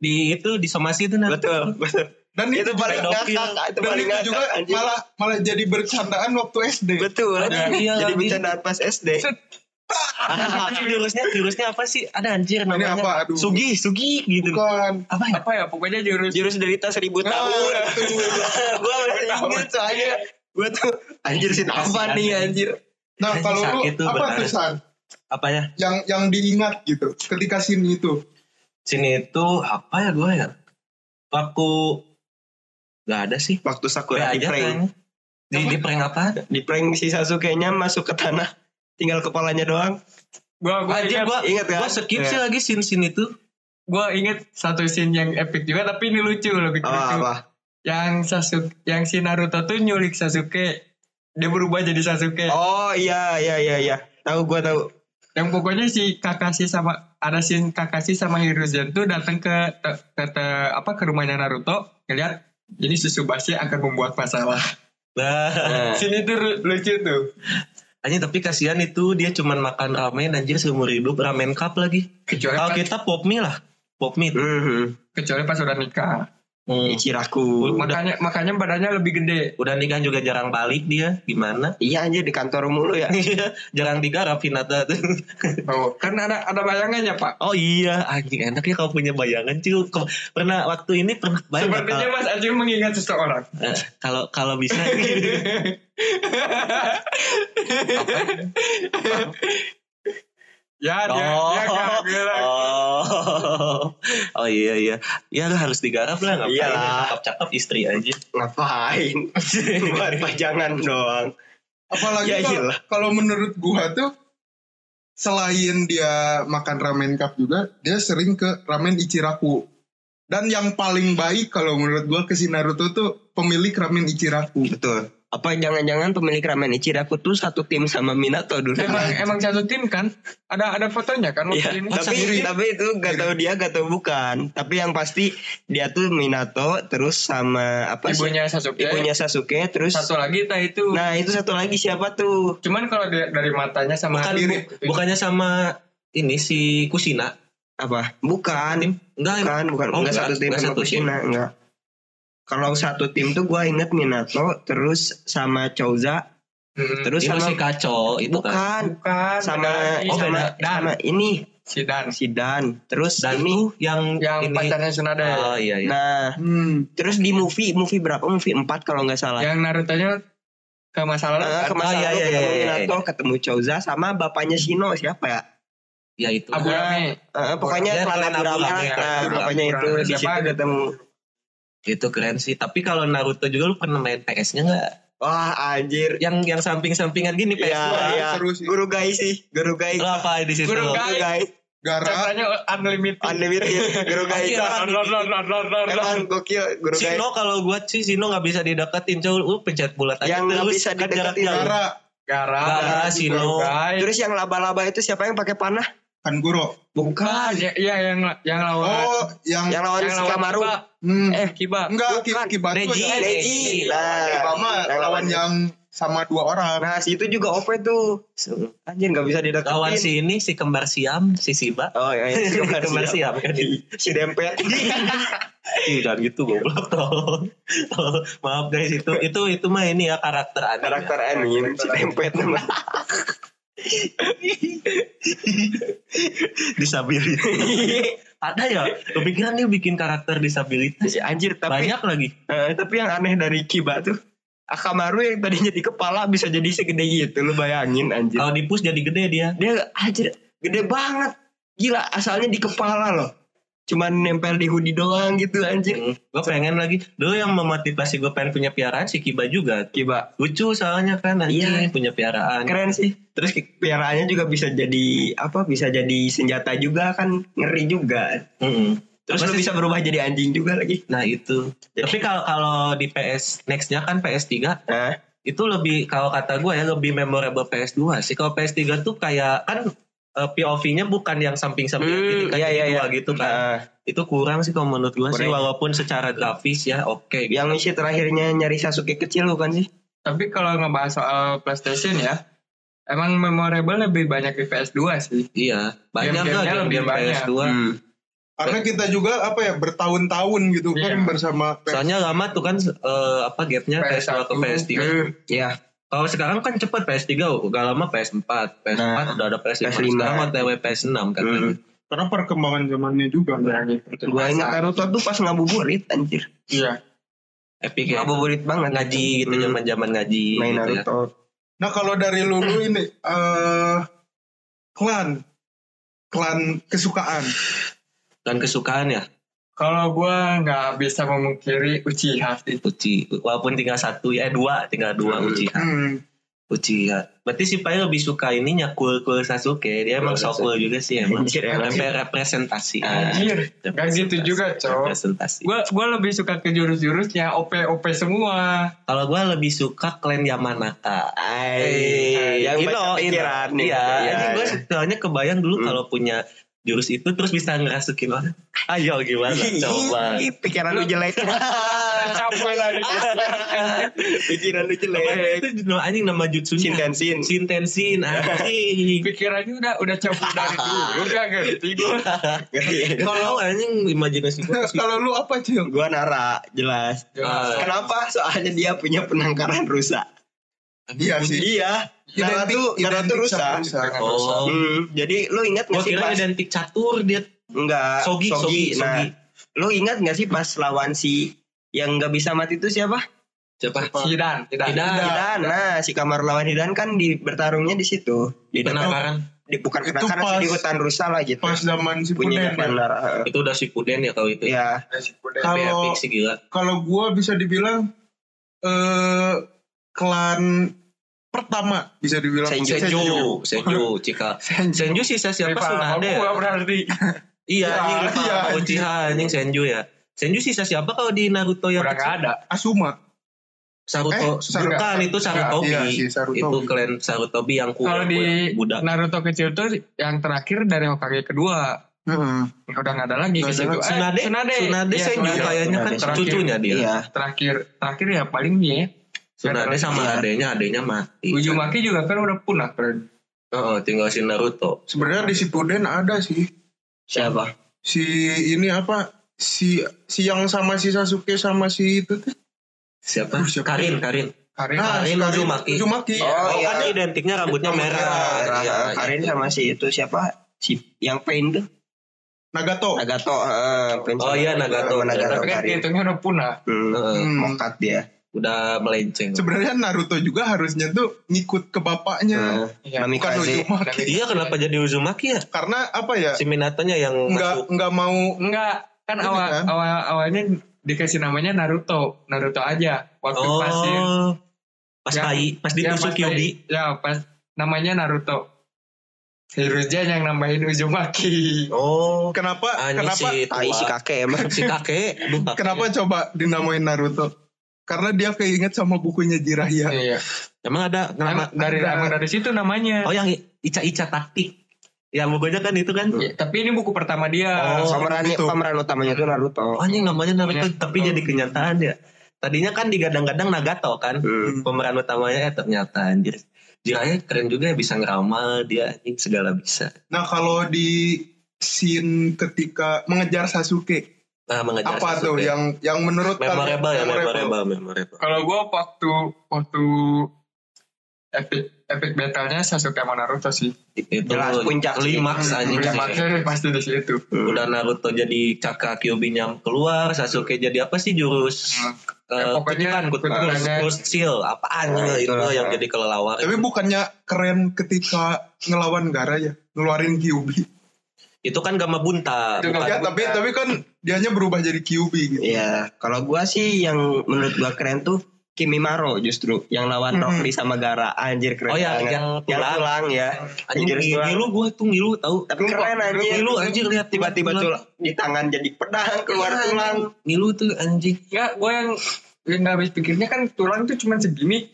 Di itu disomasi itu nanti. Betul, betul. Dan itu, Itu paling juga, gokil. ngakak, itu dan paling itu ngakak, juga anjing. malah malah jadi bercandaan waktu SD. Betul. Ada, iya, Jadi lagi. bercandaan pas SD. Ah, Iya. Jurusnya jurusnya apa sih? Ada anjir Ini namanya. apa? Aduh. Sugi, Sugi gitu. Bukan. Nah, Apa ya? Apa ya, pokoknya jurus Jurus derita seribu tahun. Gua masih inget soalnya. Gua tuh anjir sih apa nih anjir. Nah Anjing, kalau lu sakit tuh, apa benar. tuh San? Apanya? Yang yang diingat gitu ketika sini itu. sini itu apa ya gue ya waktu nggak ada sih Waktu Udah Sakura di aja prank. Iya, kayaknya. di, di prank apa Di prank si Sasuke-nya masuk ke tanah. Tinggal kepalanya doang. gua gua aja ingat, gue ingat kan? gue skip sih Iya. lagi scene scene itu gua ingat satu scene yang epic juga tapi ini lucu loh lucu. Ah, Apa, apa? Yang Sasuke, yang si Naruto tuh nyulik Sasuke, dia berubah jadi Sasuke. Oh iya, iya, iya, iya. Tahu gua tahu. Yang pokoknya si Kakashi sama ada scene Kakashi sama Hiruzen tuh datang ke, ke, ke- ke- apa ke rumahnya Naruto, ngeliat jadi Susubashi akan membuat masalah. nah Iya. Sini tuh ru- lucu tuh. hanya tapi kasihan itu dia cuman makan ramen anjir seumur hidup ramen cup lagi Kecuali Oh, gitu. kalau pas, kita pop mie lah pop mie tuh. Mhm. kecuali pas udah nikah. di Ciraku. makanya makanya badannya lebih gede Udah nikah juga jarang balik dia, gimana? Iya anjir di kantor mulu ya. Iya, jarang digarap Hinata tuh. oh kan ada ada bayangannya pak Oh iya, anjing enak ya kalau punya bayangan cuy. Ke- Pernah waktu ini pernah bayang nggak sepertinya mas Aji mengingat seseorang kalau- eh, kalau kalau bisa ya dia Oh. dia kaget lah. Oh, oh iya iya, ya harus digarap lah ngapain? Iyalah. Cakep-cakep istri aja. Ngapain? Buat pajangan doang. Apalagi Ya kalau- iyalah. kalau menurut gua tuh selain dia makan ramen cup juga, dia sering ke ramen Ichiraku. Dan yang paling baik kalau menurut gua ke si Naruto tuh pemilik ramen Ichiraku. Betul. Apa jangan-jangan pemilik ramen Ichiraku tuh satu tim sama Minato dulu? emang emang satu tim kan ada ada fotonya kan Iya, waktu Iya. ini tapi tapi itu gak tahu dia gak tahu bukan. Tapi yang pasti dia tuh Minato terus sama apa sih? ibunya Sasuke Ibunya Sasuke terus satu lagi tah itu Nah, itu satu lagi siapa tuh? cuman kalau dari, dari matanya sama Bukan, diri Kan bu- bukannya sama ini si Kusina? Apa? Bukan. Enggak, emang. kan? Bukan, Oh, bukan. enggak bukan. satu tim Enggak sama satu tim. Kushina, enggak. Kalau satu tim tuh gua inget Minato terus sama Chouza Hmm, terus itu sama si Kaco itu kan. bukan bukan Iya, sama ada lagi, oh, sama, sama Dan sama ini si Dan si Dan terus Dan ini tuh yang yang ini. pacarnya Tsunade Oh iya iya. nah Hmm. terus di movie movie berapa movie 4 kalau nggak salah yang Naruto-nya ke masa lalu Nah, kan? ah. ke masa iya, lalu iya, ketemu iya, iya. Minato ketemu Chouza sama bapaknya Shino siapa ya ya itu. Abu Rame Eh, pokoknya Dia Clan klan Aburama Aburama, ya. nah Aburama, bapaknya itu Aburama. di Siapa situ gitu. ketemu Itu keren sih. Tapi kalau Naruto juga lu pernah main PS-nya enggak? wah anjir Yang yang samping-sampingan gini PS. ya, Wah, ya. seru sih. guru guys sih guru guys Lu apa di situ? Guru Guys. Gara caranya unlimited unlimited guru guys Iya. Lon, lon, lon, lon, lon, lon, lon. emang gokil guru guys Sino kalau gua sih Sino nggak bisa dideketin, cow. Lu pencet bulat aja Yang nggak terus, bisa kan dideketin, jaraknya. Gara Gara Gara, Sino. Guys. terus yang laba-laba itu siapa yang pakai panah Kanguro. Bukan, ya, ya, yang yang lawan Oh, yang, eh, yang lawan yang lawan Shikamaru Kiba. hmm. Eh, Kiba. enggak Ki- bukan. Kibatu Neji, ya. Neji. Iya, Nah, Obama yang lawan yang sama dua orang. Nah, si itu juga OP tuh. Anjir nggak bisa dideketin. Lawan si ini si kembar siam, si Siba. Oh, iya, iya, si kembar Kembar siam. Iya. siam kan. si dempet. Ih, jangan gitu goblok tolong. Tolong. Maaf guys itu itu itu mah ini ya karakter anime. Karakter anime si dempet namanya. disabilitas. Ada ya, kepikiran dia bikin karakter disabilitas. Si anjir Iya, tapi Banyak lagi. eh, tapi yang aneh dari Kiba tuh Akamaru yang tadinya di kepala bisa jadi segede gitu lu bayangin anjir. Kalau di push jadi gede dia. Dia anjir gede banget. Gila asalnya di kepala loh. Cuman nempel di hoodie doang gitu anjir. Gue pengen lagi. Dulu yang memotivasi gue pengen punya piaraan si Kiba juga. Kiba Lucu soalnya kan nanti Iya. punya piaraan. keren sih. Terus piaraannya juga bisa jadi apa? Bisa jadi senjata juga kan ngeri juga. Mm-mm. Terus Apa lu sih? bisa berubah jadi anjing juga lagi. Nah itu. Tapi kalau kalau di PS nextnya kan PS3 Nah, itu lebih kalau kata gue ya lebih memorable PS2 sih. Kalau PS3 tuh kayak kan eh, POV-nya bukan yang samping-samping Hmm, gini, kan iya, jadi iya, dua gitu kan. nah, itu kurang sih kalau menurut gue sih Kurang. Iya. walaupun secara grafis ya oke gitu. yang si terakhirnya nyari Sasuke kecil bukan sih? Tapi kalau ngebahas soal PlayStation ya, emang memorable lebih banyak di PS2 sih. iya banyak Game-gamenya lah game lebih game banyak. PS2 Hmm. Karena kita juga apa ya bertahun-tahun gitu Iya. kan bersama soalnya lama tuh kan eh, apa gapnya PS1. PS2 ke PS3 Ya, kalau sekarang kan cepet PS3 gak lama PS4 PS4 Nah, udah ada PS5, PS5. sekarang OTW PS6 kan Hmm. karena perkembangan zamannya juga. gitu? gua ingat Naruto tuh pas ngabuburit anjir. Iya. epic ya Ngabuburit banget ngaji gitu Hmm. zaman zaman ngaji main gitu ya. Naruto. Nah kalau dari Lulu ini eh klan klan kesukaan dan kesukaan ya Kalau gua nggak bisa memungkiri Uchiha sih. Uci walaupun tinggal satu ya eh, dua tinggal dua Hmm. Uchiha hmm, Uchiha berarti si Pai lebih suka ininya cool cool Sasuke dia emang so cool juga sih ya, emang Anjir, emang Ah. sih. sampai representasi Anjir, nggak gitu juga, cowok. Representasi. Gua gua lebih suka ke jurus-jurusnya OP-OP semua. Kalau gue lebih suka klan Yamanaka. Ay, yang baca pikiran Iya, Iya, Jadi gue soalnya kebayang dulu Hmm. kalau punya jurus itu terus bisa ngerasukin orang. Ayo gimana? Coba. Ih, pikiran lu jelek. Capek lah di Ah. pikiran lu Apa itu nama anjing nama jutsunya. Shinkansen. Shinkansen anjing. Pikirannya udah udah capek dari dulu. Gak ngerti gue. Kalau anjing imajinasi gue Kalau lu apa sih? Gua Nara, jelas. Ah. Jelas. Kenapa? Soalnya dia punya penangkaran rusa. Iya sih. Iya. Nara Identik- tuh, Nara tuh identik sama rusa. rusa. Oh. Hmm, jadi lu ingat Gue gak sih kira pas identik catur dia enggak Oh, sogi sogi Nah, sogi. lu ingat gak sih pas lawan si yang nggak bisa mati itu siapa? Siapa? Sidan, tidak. Hidan. Hidan. Nah, si kamar lawan Hidan kan di bertarungnya di situ. Di dekat Penangkaran. di bukan Itu penangkaran sih, pas- di hutan rusa lah gitu. Pas zaman si Punya Puden. ya. Nara. Itu udah si Puden ya kalau itu. Iya. Tapi Kalau- epic sih gila. Kalau gua bisa dibilang eh klan pertama bisa dibilang Senju. Senju, Senju, Cika. Senju sisa siapa Rival Sunade ya? Papua berarti. Iya, Iya, anjing iya. lupa Uchiha anjing Senju ya. Senju sisa siapa kalau di Naruto yang Udah gak kecil? ada. Asuma. Saruto. Eh, Saruga. Bukan itu Sarutobi. Iya, si Sarutobi. Itu klan Sarutobi yang kuat. Kalau di budak. Naruto kecil tuh yang terakhir dari Hokage kedua. Ya, Heeh. Udah gak ada Nah, lagi ke Nggak ada situ. lagi. Eh, Tsunade, Tsunade. Tsunade Iya, Senju Tsunade. kayaknya kan Terakhir. cucunya dia. Iya. Terakhir. Terakhir ya paling dia. ya. Tsunade sama Iya. adenya, adenya mati. Ujumaki juga kan udah punah. Fred. Heeh, tinggal si Naruto. Sebenarnya di si Puden ada sih. Siapa? si ini apa si si yang sama si Sasuke sama si itu tuh Siapa? Aduh, siapa? Karin, Karin. Hari Ah, Karin si Uzumaki. Uzumaki. Oh, Oh, iya. kan identiknya rambutnya merah. Merah. Iya, iya. Karin sama si itu siapa? Si yang pain tuh Nagato Nagato. eh, pain Oh, sama- iya, Nagato. sama Nagato tapi kan Karin. hitungnya udah punah. Hmm, Heeh, Hmm. Mokat dia. Udah melenceng. sebenarnya Naruto juga harusnya tuh ngikut ke bapaknya Hmm. Nah, Namikaze. bukan Uzumaki Iya kenapa jadi Uzumaki ya? karena apa ya Si Minatonya yang masuk. nggak nggak mau Enggak, kan Ini awal kan? awal awalnya dikasih namanya Naruto, Naruto aja. Waktu Oh. pas si- Pas Ya, bayi, pas ya, ditusuk pas- Kyobi. Ya, pas namanya Naruto. Hiruzen yang nambahin Uzumaki. Oh. kenapa Anjing kenapa si tua. Tai si kakek emang. si kakek. Aduh, kakek. kenapa coba dinamain Naruto karena dia keinget sama bukunya Nah, Jiraiya Iya. Emang ada Emang nama dari ada. emang dari situ namanya. nah, Oh yang Ica-Ica taktik. Yang bukunya kan itu kan. Iya, tapi ini buku pertama dia. Oh. Pemeran gitu. pemeran utamanya tuh Naruto. Oh, anjing namanya Naruto Iya. tapi jadi kenyataan ya. Tadinya kan digadang-gadang Nagato kan. Hmm. Pemeran utamanya eh ternyata anjir. Jiraiya keren juga ya bisa ngeramal dia anjing segala bisa. nah kalau di scene ketika mengejar Sasuke Nah, mengejar apa Sasuke. tuh ya? yang yang menurut memorable ya, memorable, memorable. Kalau gua waktu waktu epic epic battle-nya Sasuke sama Naruto sih. itu Jelas, puncak sih. klimaks anjing Yang maksudnya pasti di situ. udah Naruto jadi kakak Kyuubi-nya keluar Sasuke jadi apa sih jurus Hmm. Ya, eh, pokoknya kutukan kutukan kutukannya. jurus- jurus seal apaan Nah, itu itulah. yang jadi kelelawar Tapi bukannya keren ketika ngelawan Gara ya, ngeluarin Kyuubi. itu kan Gama Bunta Itu bukan- Ya, tapi tapi kan dianya berubah jadi Kyuubi gitu. Iya, kalau gua sih yang menurut gua keren tuh Kimimaro justru yang lawan Hmm. Rockly sama Gara anjir keren oh ya banget. yang yang tulang tulang ya. anjing Yang jurus ngilu, tulang. ngilu gua tuh ngilu tahu Tapi keren anjir. ngilu anjing lihat Tiba-tiba tulang di tangan jadi pedang keluar Iya, tulang. anjing. ngilu tuh anjing Enggak, gue Ya, yang yang nggak habis pikirnya kan tulang tuh cuman segini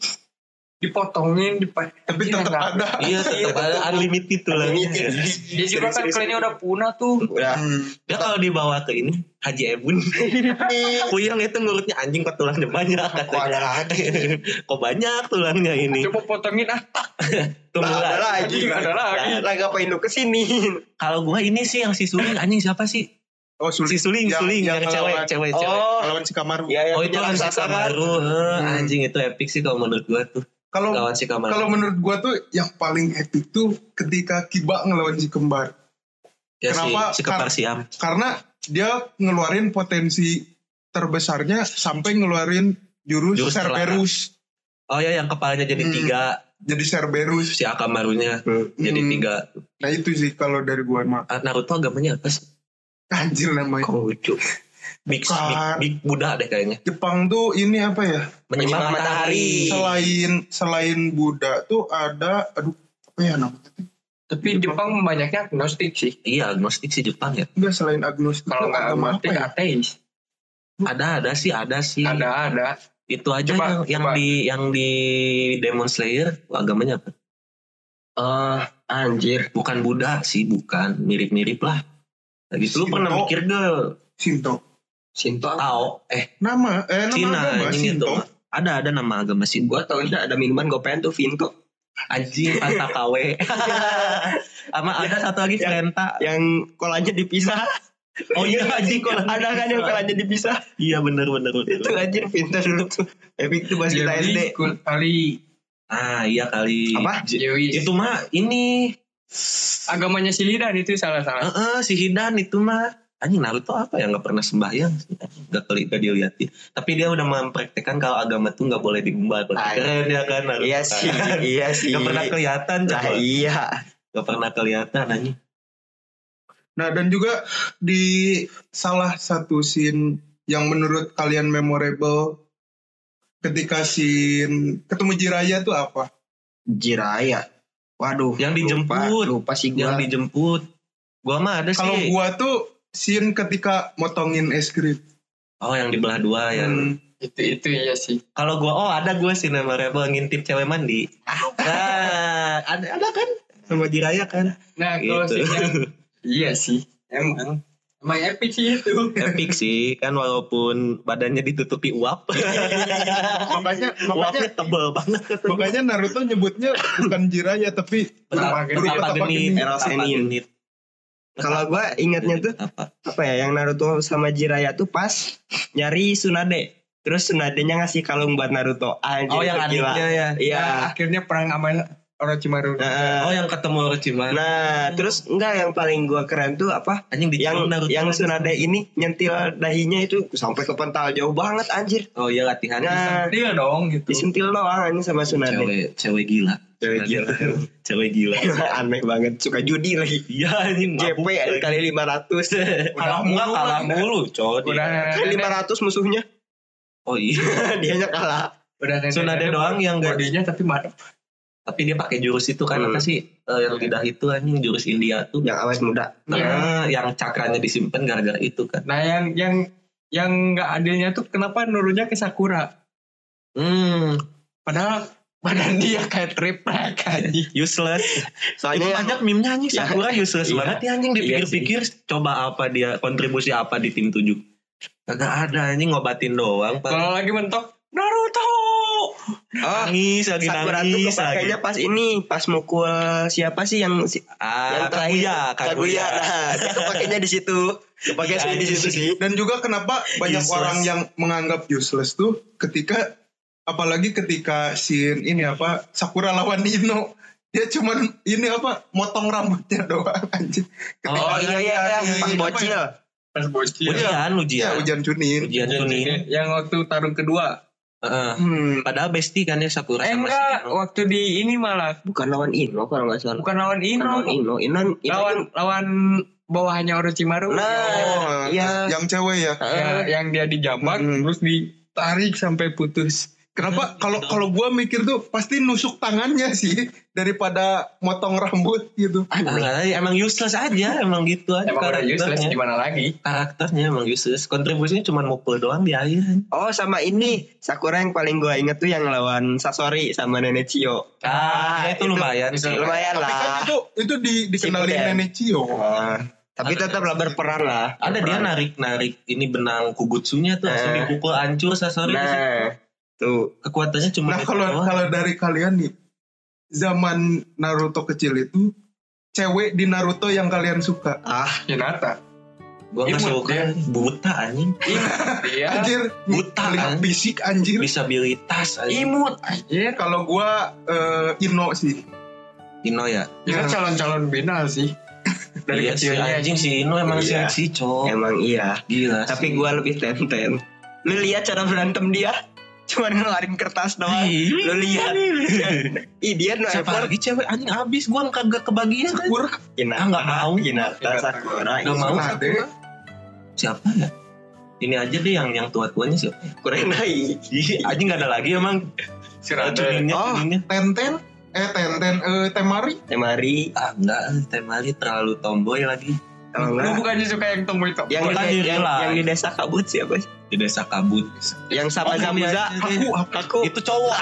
dipotongin dipa- Tapi Iya, tetap nggak- ada. iya tetap ada unlimited tulangnya Unlimited. dia juga kan Serius, serius. kliennya udah punah tuh Iya. Udah. Hmm. dia kalau dibawa ke ini Haji Ebun Puyeng itu ngurutnya anjing kok tulangnya banyak Kok ada lagi? kok banyak tulangnya ini coba potongin ah Tunggu Nggak ada lah. lagi. Nggak ada lagi. Lah ngapain lu kesini? kalau gua ini sih yang si Suling anjing siapa sih Oh, si sulit. Suling Yang- Suling yang, yang cewek lawan- cewek cewek Oh, Lawan si Kamaru. ya yang oh itu punya lawan si raksasa kan? Kamaru Heh, anjing itu epic sih kalau menurut gua tuh Hmm. Kalau lawan si Kamaru kalau menurut gua tuh yang paling epic tuh ketika Kiba ngelawan si kembar. ya, si- kenapa- si, kembar siam Karena dia ngeluarin potensi terbesarnya sampai ngeluarin jurus, Jurus Cerberus. oh ya yang kepalanya jadi Hmm. tiga Jadi Cerberus. si Akamarunya jadi Hmm. tiga Nah, itu sih kalau dari gua mah. Ah, Naruto agamanya apa sih Anjir namanya. kok lucu Big, big, Bukan. big Buddha deh kayaknya Jepang tuh ini apa ya? Menyembah Menyembah matahari matahari. selain selain Buddha tuh ada aduh apa ya namanya tuh? tapi Jepang banyaknya agnostik sih Iya agnostik sih Jepang ya enggak selain agnostik kalau tuh nggak agama agnostik apa ya? ateis Ada ada sih ada sih ada ada Itu aja Coba, yang, yang coba. di yang di Demon Slayer agamanya apa? Eh, anjir. Bukan Buddha sih, bukan mirip-mirip lah. Lagi Sinto. lu pernah mikir gak Sinto. Sinto apa? Tao eh Nama eh nama Cina agama ini Sinto. tuh Ada ada nama agama Sinto. Gua tau ada minuman gue pengen tuh Vinto anjing Antakawe sama ada satu lagi Ya. Frenta yang kolanya dipisah. oh iya anjing kalau ada kan yang kolanya dipisah. iya bener bener bener. Itu anjir Vinto dulu tuh. Epic tuh pas Iya, kita Jadi SD. school kali ah iya kali Apa? Jewi. itu mah ini agamanya si Lidan itu salah salah. Heeh, si Hidan itu mah anjing Naruto apa ya nggak pernah sembahyang nggak kali nggak dilihatin tapi dia udah mempraktekkan kalau agama tuh nggak boleh diumbar Ah, keren ya kan Naruto Iya kan? sih, iya sih. nggak pernah kelihatan Lah coba iya. nggak pernah kelihatan anjing Nah dan juga di salah satu scene yang menurut kalian memorable ketika scene ketemu Jiraya tuh apa? Jiraya. Waduh. Yang lupa- dijemput. Lupa, sih yang gua. dijemput gua mah ada Kalau sih gua tuh scene ketika motongin es krim. oh yang dibelah dua yang Hmm. Itu itu iya sih. kalau gua oh ada gua sih nama rebel ngintip cewek mandi nah ada ada kan sama diraya kan Nah kalau gitu scene-nya- iya sih emang emang epic sih itu. epic sih kan walaupun badannya ditutupi uap Makanya uapnya makanya tebel banget makanya Naruto nyebutnya bukan Jiraya tapi Betapa- huruf betapa betapa geni. Eros ini. genit Kalau gua ingatnya tuh apa apa ya yang Naruto sama Jiraya tuh pas nyari Tsunade. Terus Tsunadenya ngasih kalung buat Naruto. Anjir, oh yang itu gila. adiknya ya Iya. Nah, akhirnya perang sama Orochimaru. Nah, oh yang ketemu Orochimaru Nah, terus enggak yang paling gua keren tuh apa? anjing di Yang iya. yang Tsunade ini nyentil dahinya itu sampai ke pental jauh banget anjir. oh iya latihan Nah, Iya dong gitu. disentil doang anjir sama Tsunade. cewek cewek gila Cewek gila. cewek gila Aneh banget suka judi lagi. iya anjing JP mabuk lagi. kali 500. kalah mulu enggak kalah kan. mulu coy Udah Kali 500 musuhnya. oh iya Dianya kalah. udah nenek- Tsunade nenek doang yang gak- bodinya tapi madep. tapi dia pakai jurus itu kan Hmm. apa sih Eh, yang tidak itu anjing jurus India tuh Yang awet muda. Nah, yang cakranya disimpan gara-gara itu kan Nah yang yang yang nggak adilnya tuh kenapa nurunnya ke Sakura? hmm Padahal badan dia kayak triplek aja. useless Soalnya itu yang banyak meme-nya anjing Ya. Sakura useless Iya. banget ya anjing Iya dipikir-pikir coba apa dia kontribusi apa di tim 7 kagak ada anjing ngobatin doang Pak. Kalau lagi mentok Naruto. oh, nangis lagi Sakura tuh nangis lagi kepakainya pas ini, pas mukul siapa sih yang si- ah yang terakhir Kaguya Iya, Kaguya. Nah, dia kepakainya di situ. Kepakainya sih di situ sih. Dan juga kenapa banyak Useless. orang yang menganggap useless tuh ketika apalagi ketika scene ini apa Sakura lawan Ino dia cuman ini apa motong rambutnya doang anjing. Ketika Oh iya iya iya, di- pas apa bocil. ya? Pas bocil. ujian Iya, ujian hujan cunin. ujian tuh nih Yang waktu tarung kedua. Heeh. Iya. Hmm, padahal bestie kan ya Sakura Eh sama enggak, si waktu di ini malah bukan lawan Ino kalau nggak salah. bukan lawan Bukan Ino, lawan Ino, Ino, kan Ino lawan lawan bawahannya Orochimaru. Nah, iya. Oh, Yang cewek ya. Ya, yang dia dijambak Mm-mm. terus ditarik sampai putus. Kenapa kalau kalau gua mikir tuh pasti nusuk tangannya sih daripada motong rambut gitu. Ah, emang useless aja emang gitu aja Emang udah ya. useless karakternya gimana lagi? karakternya emang useless kontribusinya cuma mukul doang di akhir Oh sama ini Sakura yang paling gue inget tuh yang lawan Sasori sama Nenek Cio. ah itu lumayan sih Lumayan Tapi kan lah. itu itu di, dikenalin Siputen. nenek Cio. Nah, tapi tetaplah berperan lah. ada dia Berperan. narik-narik ini benang kugutsunya tuh langsung Eh. dipukul hancur Sasori di situ. Nah, tuh kekuatannya cuma Nah itu kalau doang. kalau dari kalian nih zaman Naruto kecil itu cewek di Naruto yang kalian suka. Hinata. gua nggak imut suka dia. buta anjing Iya. Anjir, Ya, Buta, lihat kan? fisik anjir. disabilitas anjing Imut anjir. Kalau gua eh, Ino sih. Ino ya Itu Ya. calon-calon binal sih. Dari iya si kecilnya anjing si Ino emang Iya. seksi cowok emang iya. gila Tapi sih. gue lebih tenten. Lu lihat cara berantem dia? Cuman ngelarin kertas doang. Lu lihat. Ih dia no siapa effort. lagi cewek anjing abis gua kagak kebagian kan Sakura Ina, Ah, nggak mau. Hinata Sakura. Nggak mau. Tsunade. siapa ya ini aja deh yang yang tua tuanya siapa Kurenai. Ih, anjing nggak ada lagi emang Sirade. cuningnya Oh. cuningnya Tenten eh Tenten eh Temari. Temari. ah enggak temali terlalu tomboy lagi Kalau Lu enggak. bukannya suka yang tomboy tomboy? Yang, Bukan di, di yang, real yang di life. desa kabut siapa sih? di desa kabut yang sama Oh, Zamza iya, aku iya. aku itu cowok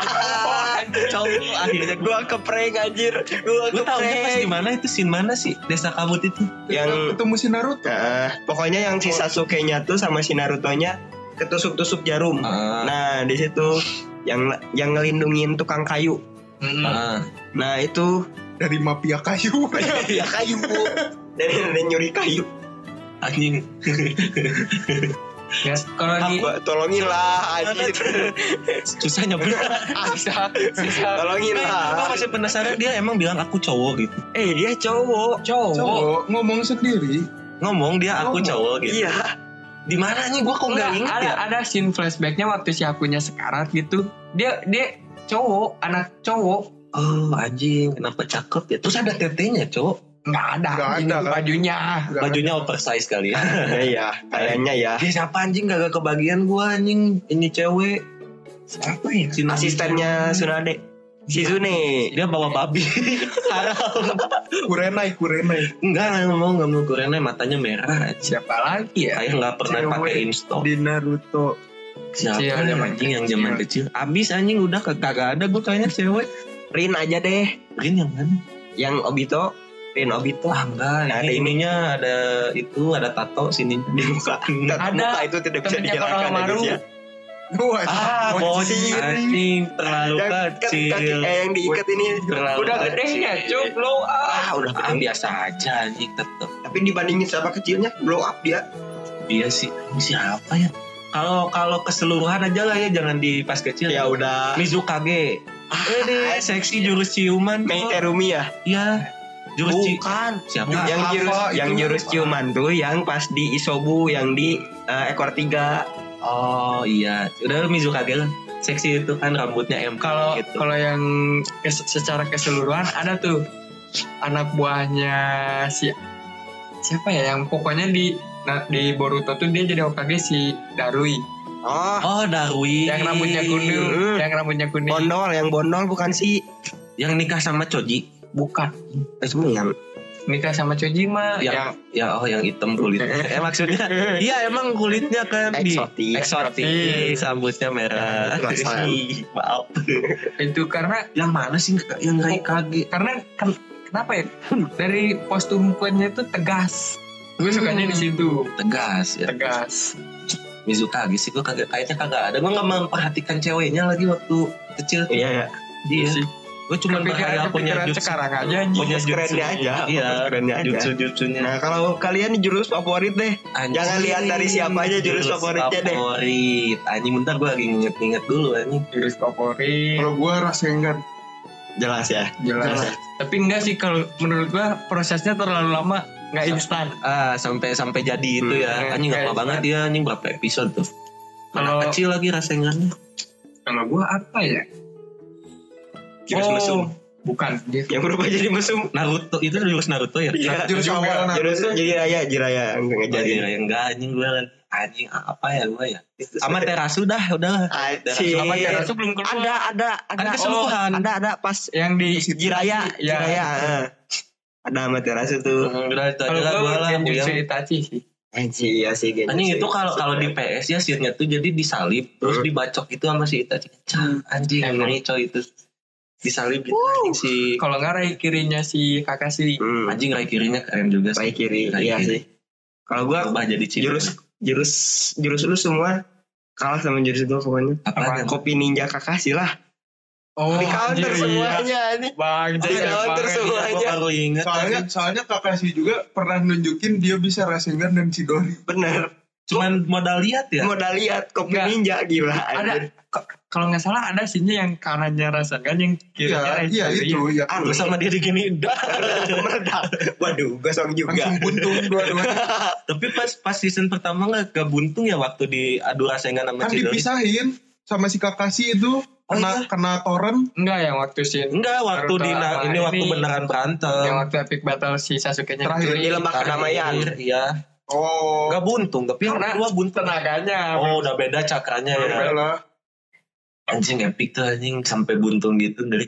cowok akhirnya gua kepreng anjir gua lu tahu nggak pas kepreng di mana itu scene mana sih desa kabut itu yang ketemu si Naruto. nah, pokoknya yang si Sasuke-nya tuh sama si Naruto-nya ketusuk-tusuk jarum ah, nah di situ yang yang ngelindungin tukang kayu ah. nah itu Dari mafia kayu. ya kayu dari dari nyuri kayu anjing Ya, kalau di Apa, tolonginlah anjir susah nyebut sisa sisa Gue tolonginlah masih penasaran dia emang bilang aku cowok gitu eh dia cowok cowok. Cowok ngomong sendiri. ngomong dia aku Ngomong. cowok gitu iya di mananya gue kok nggak Enggak, ingat ada ya ada scene flashbacknya waktu si akunya sekarat gitu. Dia dia cowok, anak cowok. oh anjing kenapa cakep ya terus ada tetenya cowok Enggak ada. Nggak ada, ini kan? bajunya. bajunya oversize kali ya ya, ya kayaknya ya dia siapa anjing gak kebagian gue anjing ini cewek Siapa ya? Si Nabi. asistennya Sunade si Zune dia bawa babi haram Kurenai, kurenai. enggak nggak mau nggak mau gorengnya matanya merah aja Siapa lagi ya? saya nggak pernah Cewek. pakai install Di Naruto. siapa Kecil, Iya, yang zaman anjing yang zaman kecil abis anjing udah kag- kagak ada gue kayaknya cewek Rin aja deh Rin yang mana yang Obito Rin Obito ah enggak ada Nah, ada ini. ininya ada itu ada tato sini di muka Ada. Muka Ah, itu tidak bisa Temennya dihilangkan Konohamaru. Indonesia. Wah, ah bocil anjing terlalu Yang kaki- kaki kecil eh, yang diikat ini terlalu Udah gedenya, kecil. cuk blow up. ah udah ah, biasa aja anjing tetep tapi dibandingin sama kecilnya blow up dia dia Iya sih ini siapa ya kalau kalau keseluruhan aja lah ya jangan di pas kecil ya udah Mizukage Ah, eh deh seksi jurus ciuman Mei kok. Terumi ya ya jurus ci- siapa yang apa jurus itu? yang jurus ciuman tuh yang pas di Isobu yang di eh, ekor tiga oh iya udah lu Mizukage lah seksi itu kan rambutnya M Kalau gitu. kalau yang kes- secara keseluruhan ada tuh anak buahnya si siapa ya yang pokoknya di nah, di Boruto tuh dia jadi Hokage si Darui oh oh Darui yang rambutnya kuning Hmm. yang rambutnya kuning bondol yang bondol bukan si yang nikah sama Choji bukan Eh, bukan. nikah sama Choji mah Yang- yang ya oh yang hitam kulitnya eh maksudnya iya emang kulitnya kan di eksotik eksotis rambutnya merah Ya, Nggak salah. Ih, maaf itu karena yang mana sih yang Oh. Rai Kage karena ken- kenapa ya dari postur perempuannya itu tegas gue sukanya Hmm. di situ tegas ya tegas Mizukage sih gue kagak kayaknya kagak ada gue nggak memperhatikan ceweknya lagi waktu kecil iya ya dia sih. gue cuma Kepikiran- bahaya punya kepikiran jutsu sekarang aja, anjing. punya jutsu kerennya aja iya kerennya aja jutsu jutsunya Nah kalau kalian jurus favorit deh Jangan lihat dari siapanya jurus favoritnya deh. favorit anjing bentar gue lagi nginget-nginget dulu anjing jurus favorit Kalau gua Rasengan. Jelas ya jelas tapi enggak sih kalau menurut gue prosesnya terlalu lama nggak instan ah sampai sampai jadi itu Hmm, ya anjing kayak lama gitu. banget ya anjing berapa episode tuh Kalau- anak kecil lagi rasengannya kalau gue apa ya Jurus mesum bukan dia Yang berubah jadi mesum Naruto itu jurus Oh, Naruto ya Iya Jurus awal Naruto. Jurus Jiraya Jiraya Enggak jadi ngejarin yang enggak anjing gue lagi anjing apa ya gue ya sama terasu dah udah Acil sama Terasu belum keluar Ada ada Ada ada kesembuhan. Ada ada pas yang di Jiraya Ya. Jiraya eh. Ada sama Terasu tuh udah itu aja Ya, kalau lah gue gue lah Genjutsu Uyang. Itachi sih Anjir ya sih Genjutsu. Anjing itu kalau kalau di PS ya scene-nya tuh jadi Hmm. disalib terus dibacok gitu sama si Itachi. Cah, anjing Emang. ngeri coy itu. Disalib gitu anjing si kalau nggak rai kirinya si Kakashi Hmm, anjing rai kirinya keren juga Baik sih. kiri Rai Iya kiri. sih Kalau gua Berubah jadi cewek. Jurus Jurus Jurus lu semua Kalah sama jurus gua pokoknya apa? Kopi ninja Kakashi lah oh Di counter anjir, iya. semuanya ini bang Di jadi counter Gue semuanya baru inget Soalnya soalnya Kakashi juga pernah nunjukin dia bisa Rasengan dan Chidori. Bener cuman modal lihat ya. Modal lihat kopi Nggak. ninja gila ada anjir. k- kalau nggak salah ada sini yang kanannya Rasengan yang kirinya Iya, Rai iya Kiri. itu ya. Ah, Terus sama dia digini dah. meledak. Waduh, gosong juga. Langsung buntung dua-duanya. Tapi pas pas season pertama nggak gak buntung ya waktu di adu rasengan sama Kan Chidori. dipisahin sama si Kakashi itu kena kena toren enggak yang waktu sin Enggak, waktu di Naruto na- sama ini waktu ini. beneran berantem. yang waktu epic battle si Sasuke nya Terakhir, Di lembah kedamaian. Iya. Oh, Gak buntung, tapi yang Karena kedua buntung. tenaganya Oh, udah beda cakranya ya ya. lah. Anjing epic tuh anjing sampai buntung gitu dari.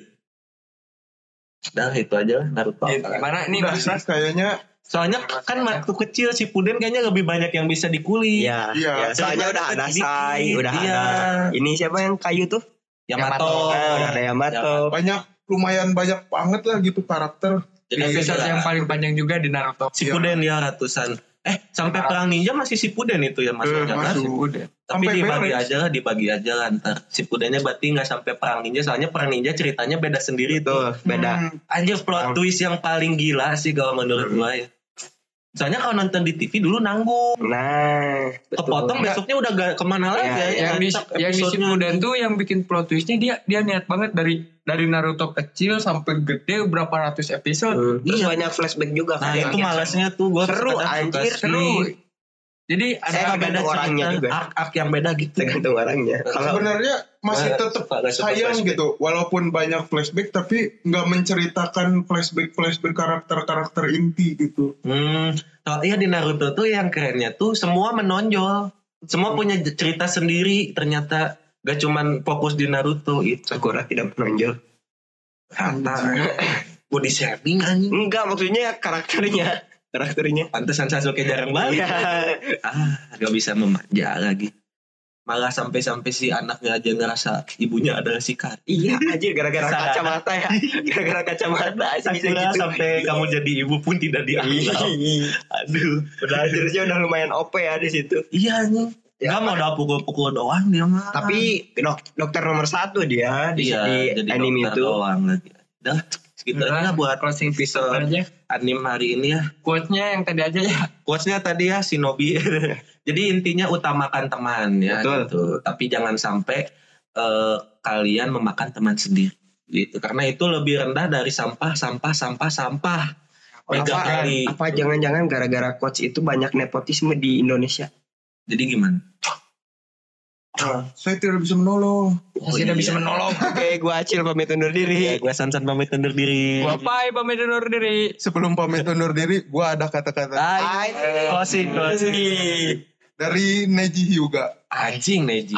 Udah itu aja lah Naruto. Ya, gimana ini Udah sih, Mas Pras? kayaknya Soalnya Iya, kan waktu kecil si Puden kayaknya lebih banyak yang bisa dikulik. Iya. Iya. ya, Soalnya udah ada Dikit-dikit, Sai, udah iya. ada. Ini siapa yang kayu tuh? Yamato. Eh, Nah, udah ada ya. Yamato. banyak lumayan banyak banget lah gitu karakter Jadi episode yang paling panjang juga di Naruto. Iya, Iya. Si Puden ya ratusan. Eh, sampai Nah. perang ninja masih si Puden itu ya Eh, masuknya kan? masuk. Udah. Tapi Sampai dibagi beres. aja lah, dibagi aja lah ntar. Si Pudennya berarti nggak sampai perang ninja, soalnya perang ninja ceritanya beda sendiri tuh. Tuh, beda. Hmm, Anjir plot twist yang paling gila sih kalau menurut gua ya. Soalnya kalau nonton di TV dulu nanggung, Nah, betul. kepotong besoknya udah gak kemana lagi Iya, ya. iya. yang di Kocak yang di episodenya. Shippuden tuh yang bikin plot twistnya dia dia niat banget dari dari Naruto kecil sampai gede berapa ratus episode. Hmm. Terus banyak flashback juga Iya. Nah kan. itu malesnya tuh gua Seru, kadang suka anjir, sih. Seru. Jadi Saya ada nggak Beda Tergantung orangnya cerita, juga. Ak-ak yang beda gitu. tergantung orangnya. Kalau sebenarnya masih Nggak tetap suka, nggak suka sayang flashback. gitu walaupun banyak flashback tapi nggak menceritakan flashback flashback karakter karakter inti gitu Hmm, soalnya di Naruto tuh yang kerennya tuh semua menonjol. Semua punya j- cerita sendiri ternyata. Gak cuman fokus di Naruto itu. gitu, Sakura tidak menonjol. Kata body shaming anjing. Enggak, maksudnya karakternya. Karakternya. Pantesan Sasuke jarang balik. Iya. ah, gak bisa memanja lagi. Malah sampai-sampai si anaknya aja ngerasa ibunya adalah si Kari. Iya, anjir gara-gara Sarana. kacamata ya. Gara-gara kacamata sih bisa Sakura gitu. sampai kamu jadi ibu pun tidak dianggap. Iya. Aduh, Udah jurusnya udah lumayan OP ya di situ. iya nih. Ya. Gak mau udah pukul-pukul doang dia mah. Tapi dok- dokter nomor satu dia di, Ah. iya, jadi di anime dokter itu. doang lagi. Udah, segitu Udah. Gitu aja buat closing episode episode aja. anime hari ini ya. Quote-nya yang tadi aja ya. Quotesnya tadi ya Shinobi. Jadi intinya utamakan teman ya. Betul. gitu. Tapi jangan sampai eh, kalian memakan teman sendiri. Gitu. Karena itu lebih rendah dari sampah, sampah, sampah, sampah. Oh, Tiga Apa, kali. apa jangan-jangan gara-gara coach itu banyak nepotisme di Indonesia? Jadi gimana? saya tidak bisa menolong Oh Masih iya. tidak bisa menolong. Oke, gua acil pamit undur Ya, diri. gue sansan pamit undur diri. Gua bye pamit undur diri. sebelum pamit undur diri gua ada kata-kata Hai. Closing, closing. dari Neji Hyuga Anjing, Neji.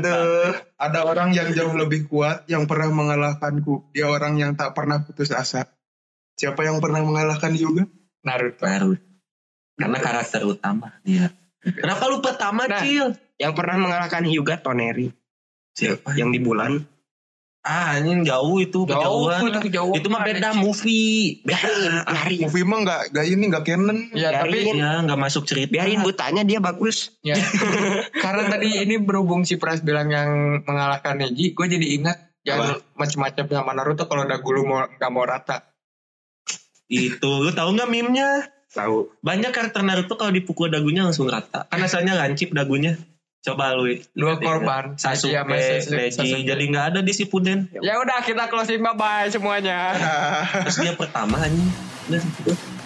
Sibuk, tuh? ada orang yang jauh lebih kuat yang pernah mengalahkanku dia orang yang tak pernah putus asa siapa yang pernah mengalahkan Hyuga Naruto. Baru. Karena karakter utama dia. Kenapa lu pertama, Nah. Cil? Yang pernah mengalahkan Hyuga Toneri Siapa? yang di bulan. Ah, anjing jauh itu Jauh, kejauhan. itu jauh. Itu mah beda movie. Biarin, biarin. movie mah nggak nggak ini nggak canon Ya, tapi Biarin. Ya, nggak masuk cerita. Biarin butanya dia bagus. Ya. Karena tadi ini berhubung si Pras bilang yang mengalahkan Neji, gue jadi ingat yang macam-macam sama Naruto kalau udah gulu mau nggak mau rata. Itu, lu tahu nggak meme-nya? Tahu. Banyak karakter Naruto kalau dipukul dagunya langsung rata. Karena asalnya lancip dagunya. Coba lu Dua lihat-lihat. korban. Neji Sasuke, sama Sasuke. Neji, Sasuke. jadi nggak ada di Shippuden. Ya udah kita closing bye bye semuanya. Terus dia pertama anjing. Udah, gitu. udah.